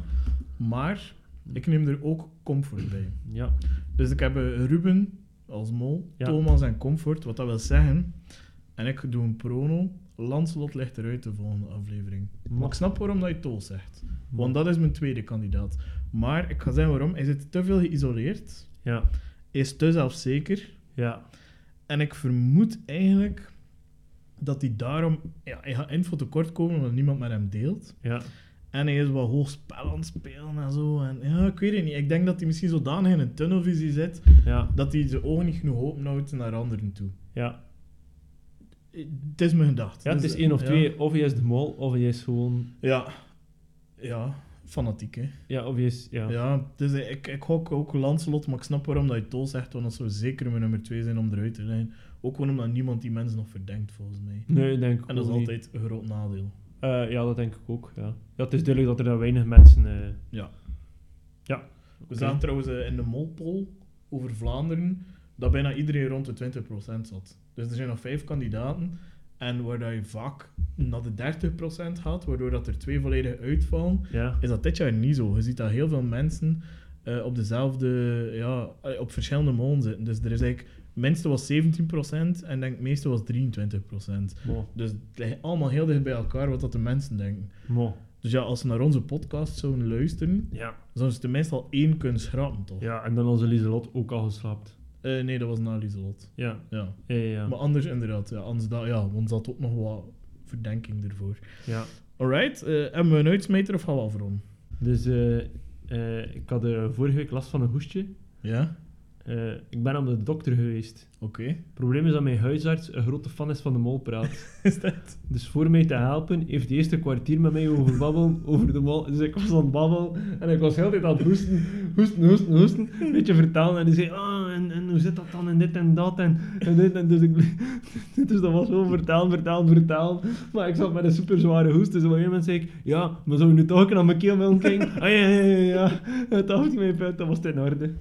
Speaker 1: Maar ik neem er ook Comfort bij.
Speaker 2: ja.
Speaker 1: Dus ik heb eh, Ruben als mol,
Speaker 2: Ja.
Speaker 1: Thomas en Comfort, wat dat wil zeggen. En ik doe een prono. Lancelot ligt eruit de volgende aflevering. Maar ik snap waarom dat je Tol zegt. Want dat is mijn tweede kandidaat. Maar ik ga zeggen waarom. Hij zit te veel geïsoleerd.
Speaker 2: Ja,
Speaker 1: Hij is te zelfzeker.
Speaker 2: ja,
Speaker 1: En ik vermoed eigenlijk dat hij daarom... Ja, hij gaat info tekort komen omdat niemand met hem deelt.
Speaker 2: ja.
Speaker 1: En hij is wat hoog spel aan het spelen en zo. En ja, ik weet het niet. Ik denk dat hij misschien zodanig in een tunnelvisie zit
Speaker 2: Ja,
Speaker 1: dat hij zijn ogen niet genoeg openhoudt naar anderen toe.
Speaker 2: ja.
Speaker 1: Het is mijn gedachte.
Speaker 2: ja het
Speaker 1: Dus,
Speaker 2: is één of
Speaker 1: ja.
Speaker 2: twee. Of hij is de mol, of hij is gewoon...
Speaker 1: Ja. Ja, fanatiek, hè.
Speaker 2: Ja, of hij is... Ja,
Speaker 1: Ja, dus ik, ik hok ook Lancelot, maar ik snap waarom dat je Tol zegt, want dat zou zeker mijn nummer twee zijn om eruit te zijn. Ook gewoon omdat niemand die mensen nog verdenkt, volgens mij.
Speaker 2: Nee, ik denk ik
Speaker 1: En dat is
Speaker 2: ook niet.
Speaker 1: altijd een groot nadeel.
Speaker 2: Eh, ja, dat denk ik ook. Ja. Ja, het is duidelijk dat er dan weinig mensen. eh,
Speaker 1: Ja.
Speaker 2: Ja.
Speaker 1: We
Speaker 2: oké.
Speaker 1: zagen trouwens eh, in de molpol over Vlaanderen dat bijna iedereen rond de 20% zat. Dus er zijn nog vijf kandidaten. En waar dat je vaak naar de 30% gaat, waardoor dat er twee volledig uitvallen,
Speaker 2: Ja.
Speaker 1: is dat dit jaar niet zo. Je ziet dat heel veel mensen eh, op dezelfde, ja, eh, op verschillende molen zitten. Dus er is eigenlijk, minste was 17% en denk meeste was 23%.
Speaker 2: Mo.
Speaker 1: Dus het ligt allemaal heel dicht bij elkaar wat dat de mensen denken.
Speaker 2: Mo.
Speaker 1: Dus ja, als ze naar onze podcast zouden luisteren,
Speaker 2: Ja.
Speaker 1: zouden ze tenminste al één kunnen schrappen, toch?
Speaker 2: ja, en dan onze Lieselot ook al geslaapt.
Speaker 1: Eh, nee, dat was na Lieselot.
Speaker 2: Ja,
Speaker 1: Ja.
Speaker 2: ja, ja.
Speaker 1: Maar anders inderdaad, ja, anders dat, ja, want ze had ook nog wat verdenking ervoor.
Speaker 2: ja.
Speaker 1: Alright, eh, hebben we een uitsmijter of gaan we al voor om?
Speaker 2: Dus eh, eh, ik had eh, vorige week last van een hoestje.
Speaker 1: Ja,
Speaker 2: Eh, ik ben aan de dokter geweest.
Speaker 1: oké.
Speaker 2: Het probleem is dat mijn huisarts een grote fan is van de molpraat.
Speaker 1: Is dat?
Speaker 2: Dus voor mij te helpen, heeft de eerste kwartier met mij over babbelen over de mol. Dus ik was aan het babbelen en ik was heel de tijd aan het hoesten, hoesten, hoesten, hoesten. Een beetje vertalen en die zei, ah, en, en hoe zit dat dan en dit en dat en, en dit. En dus, ik, bleef- dus dat was gewoon vertalen, vertalen, vertalen. Maar ik zat met een super zware hoest, dus op een gegeven moment zei ik, ja, maar zou je nu toch ook naar mijn keel willen kijken? Ah ja, ja, ja, ja. En toen had ik mijn punt, dat was het in orde.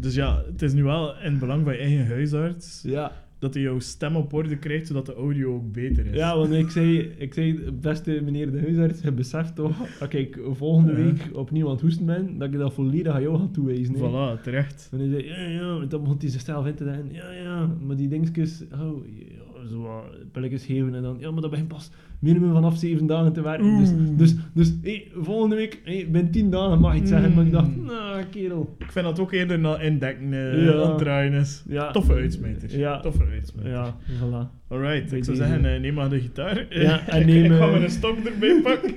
Speaker 1: Dus ja, het is nu wel in het belang van je eigen huisarts
Speaker 2: Ja.
Speaker 1: dat hij jouw stem op orde krijgt, zodat de audio ook beter is.
Speaker 2: Ja, want ik zei, ik zei, beste meneer de huisarts, je beseft toch dat ik volgende
Speaker 1: Ja.
Speaker 2: week opnieuw aan het hoesten ben, dat ik dat volledig aan jou ga toewijzen. hè.
Speaker 1: Voilà, terecht.
Speaker 2: En hij zei, ja, ja, en dan begon hij zichzelf in te denken, ja, ja, maar die dingetjes, oh, ja, zo wat pilletjes geven en dan, ja, maar dat begint pas minimum vanaf zeven dagen te werken.
Speaker 1: Oeh.
Speaker 2: Dus, dus, dus hé, volgende week, hé, binnen tien dagen mag je iets zeggen, maar ik dacht,
Speaker 1: Mm.
Speaker 2: nou, kerel.
Speaker 1: Ik vind dat ook eerder na indekken eh
Speaker 2: Ja.
Speaker 1: aan het draaien is.
Speaker 2: Ja.
Speaker 1: Toffe uitsmijter.
Speaker 2: Ja.
Speaker 1: Toffe uitsmijter.
Speaker 2: Ja, voilà.
Speaker 1: Alright,
Speaker 2: Bij
Speaker 1: ik zou
Speaker 2: deze.
Speaker 1: zeggen, eh, neem maar de gitaar.
Speaker 2: Ja, en
Speaker 1: ik
Speaker 2: neem,
Speaker 1: ga
Speaker 2: eh,
Speaker 1: maar een stok erbij pakken.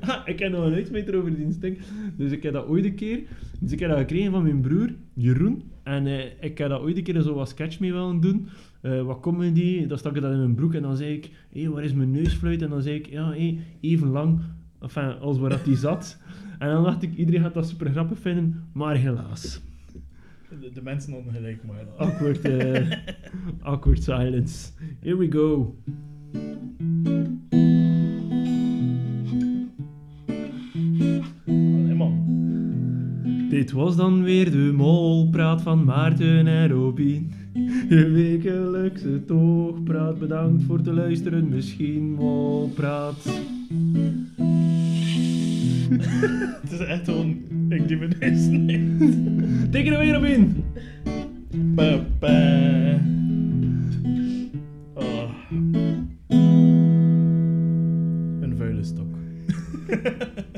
Speaker 2: Ha, ik heb nog een uitsmijter over die instinct. Dus ik heb dat ooit een keer... Dus ik heb dat gekregen van mijn broer, Jeroen. En eh, ik heb dat ooit een keer zo wat sketch mee willen doen. Eh, wat comedy, dan stak ik dat in mijn broek en dan zei ik... Hé, waar is mijn neusfluit? En dan zei ik, ja, hé, even lang. Enfin, als waar dat die zat. En dan dacht ik, iedereen gaat dat super grappig vinden. Maar helaas.
Speaker 1: De, de mensen ongelijk, maar...
Speaker 2: Awkward, eh, awkward silence. Here we go.
Speaker 1: Allee, man.
Speaker 2: Dit was dan weer de molpraat van Maarten en Robin. Je wekelijkse toogpraat, bedankt voor te luisteren, misschien molpraat.
Speaker 1: Het is echt gewoon... Ik die mijn neus niet.
Speaker 2: Tik er weer op in!
Speaker 1: Pa, pa. Oh. Een vuile stok.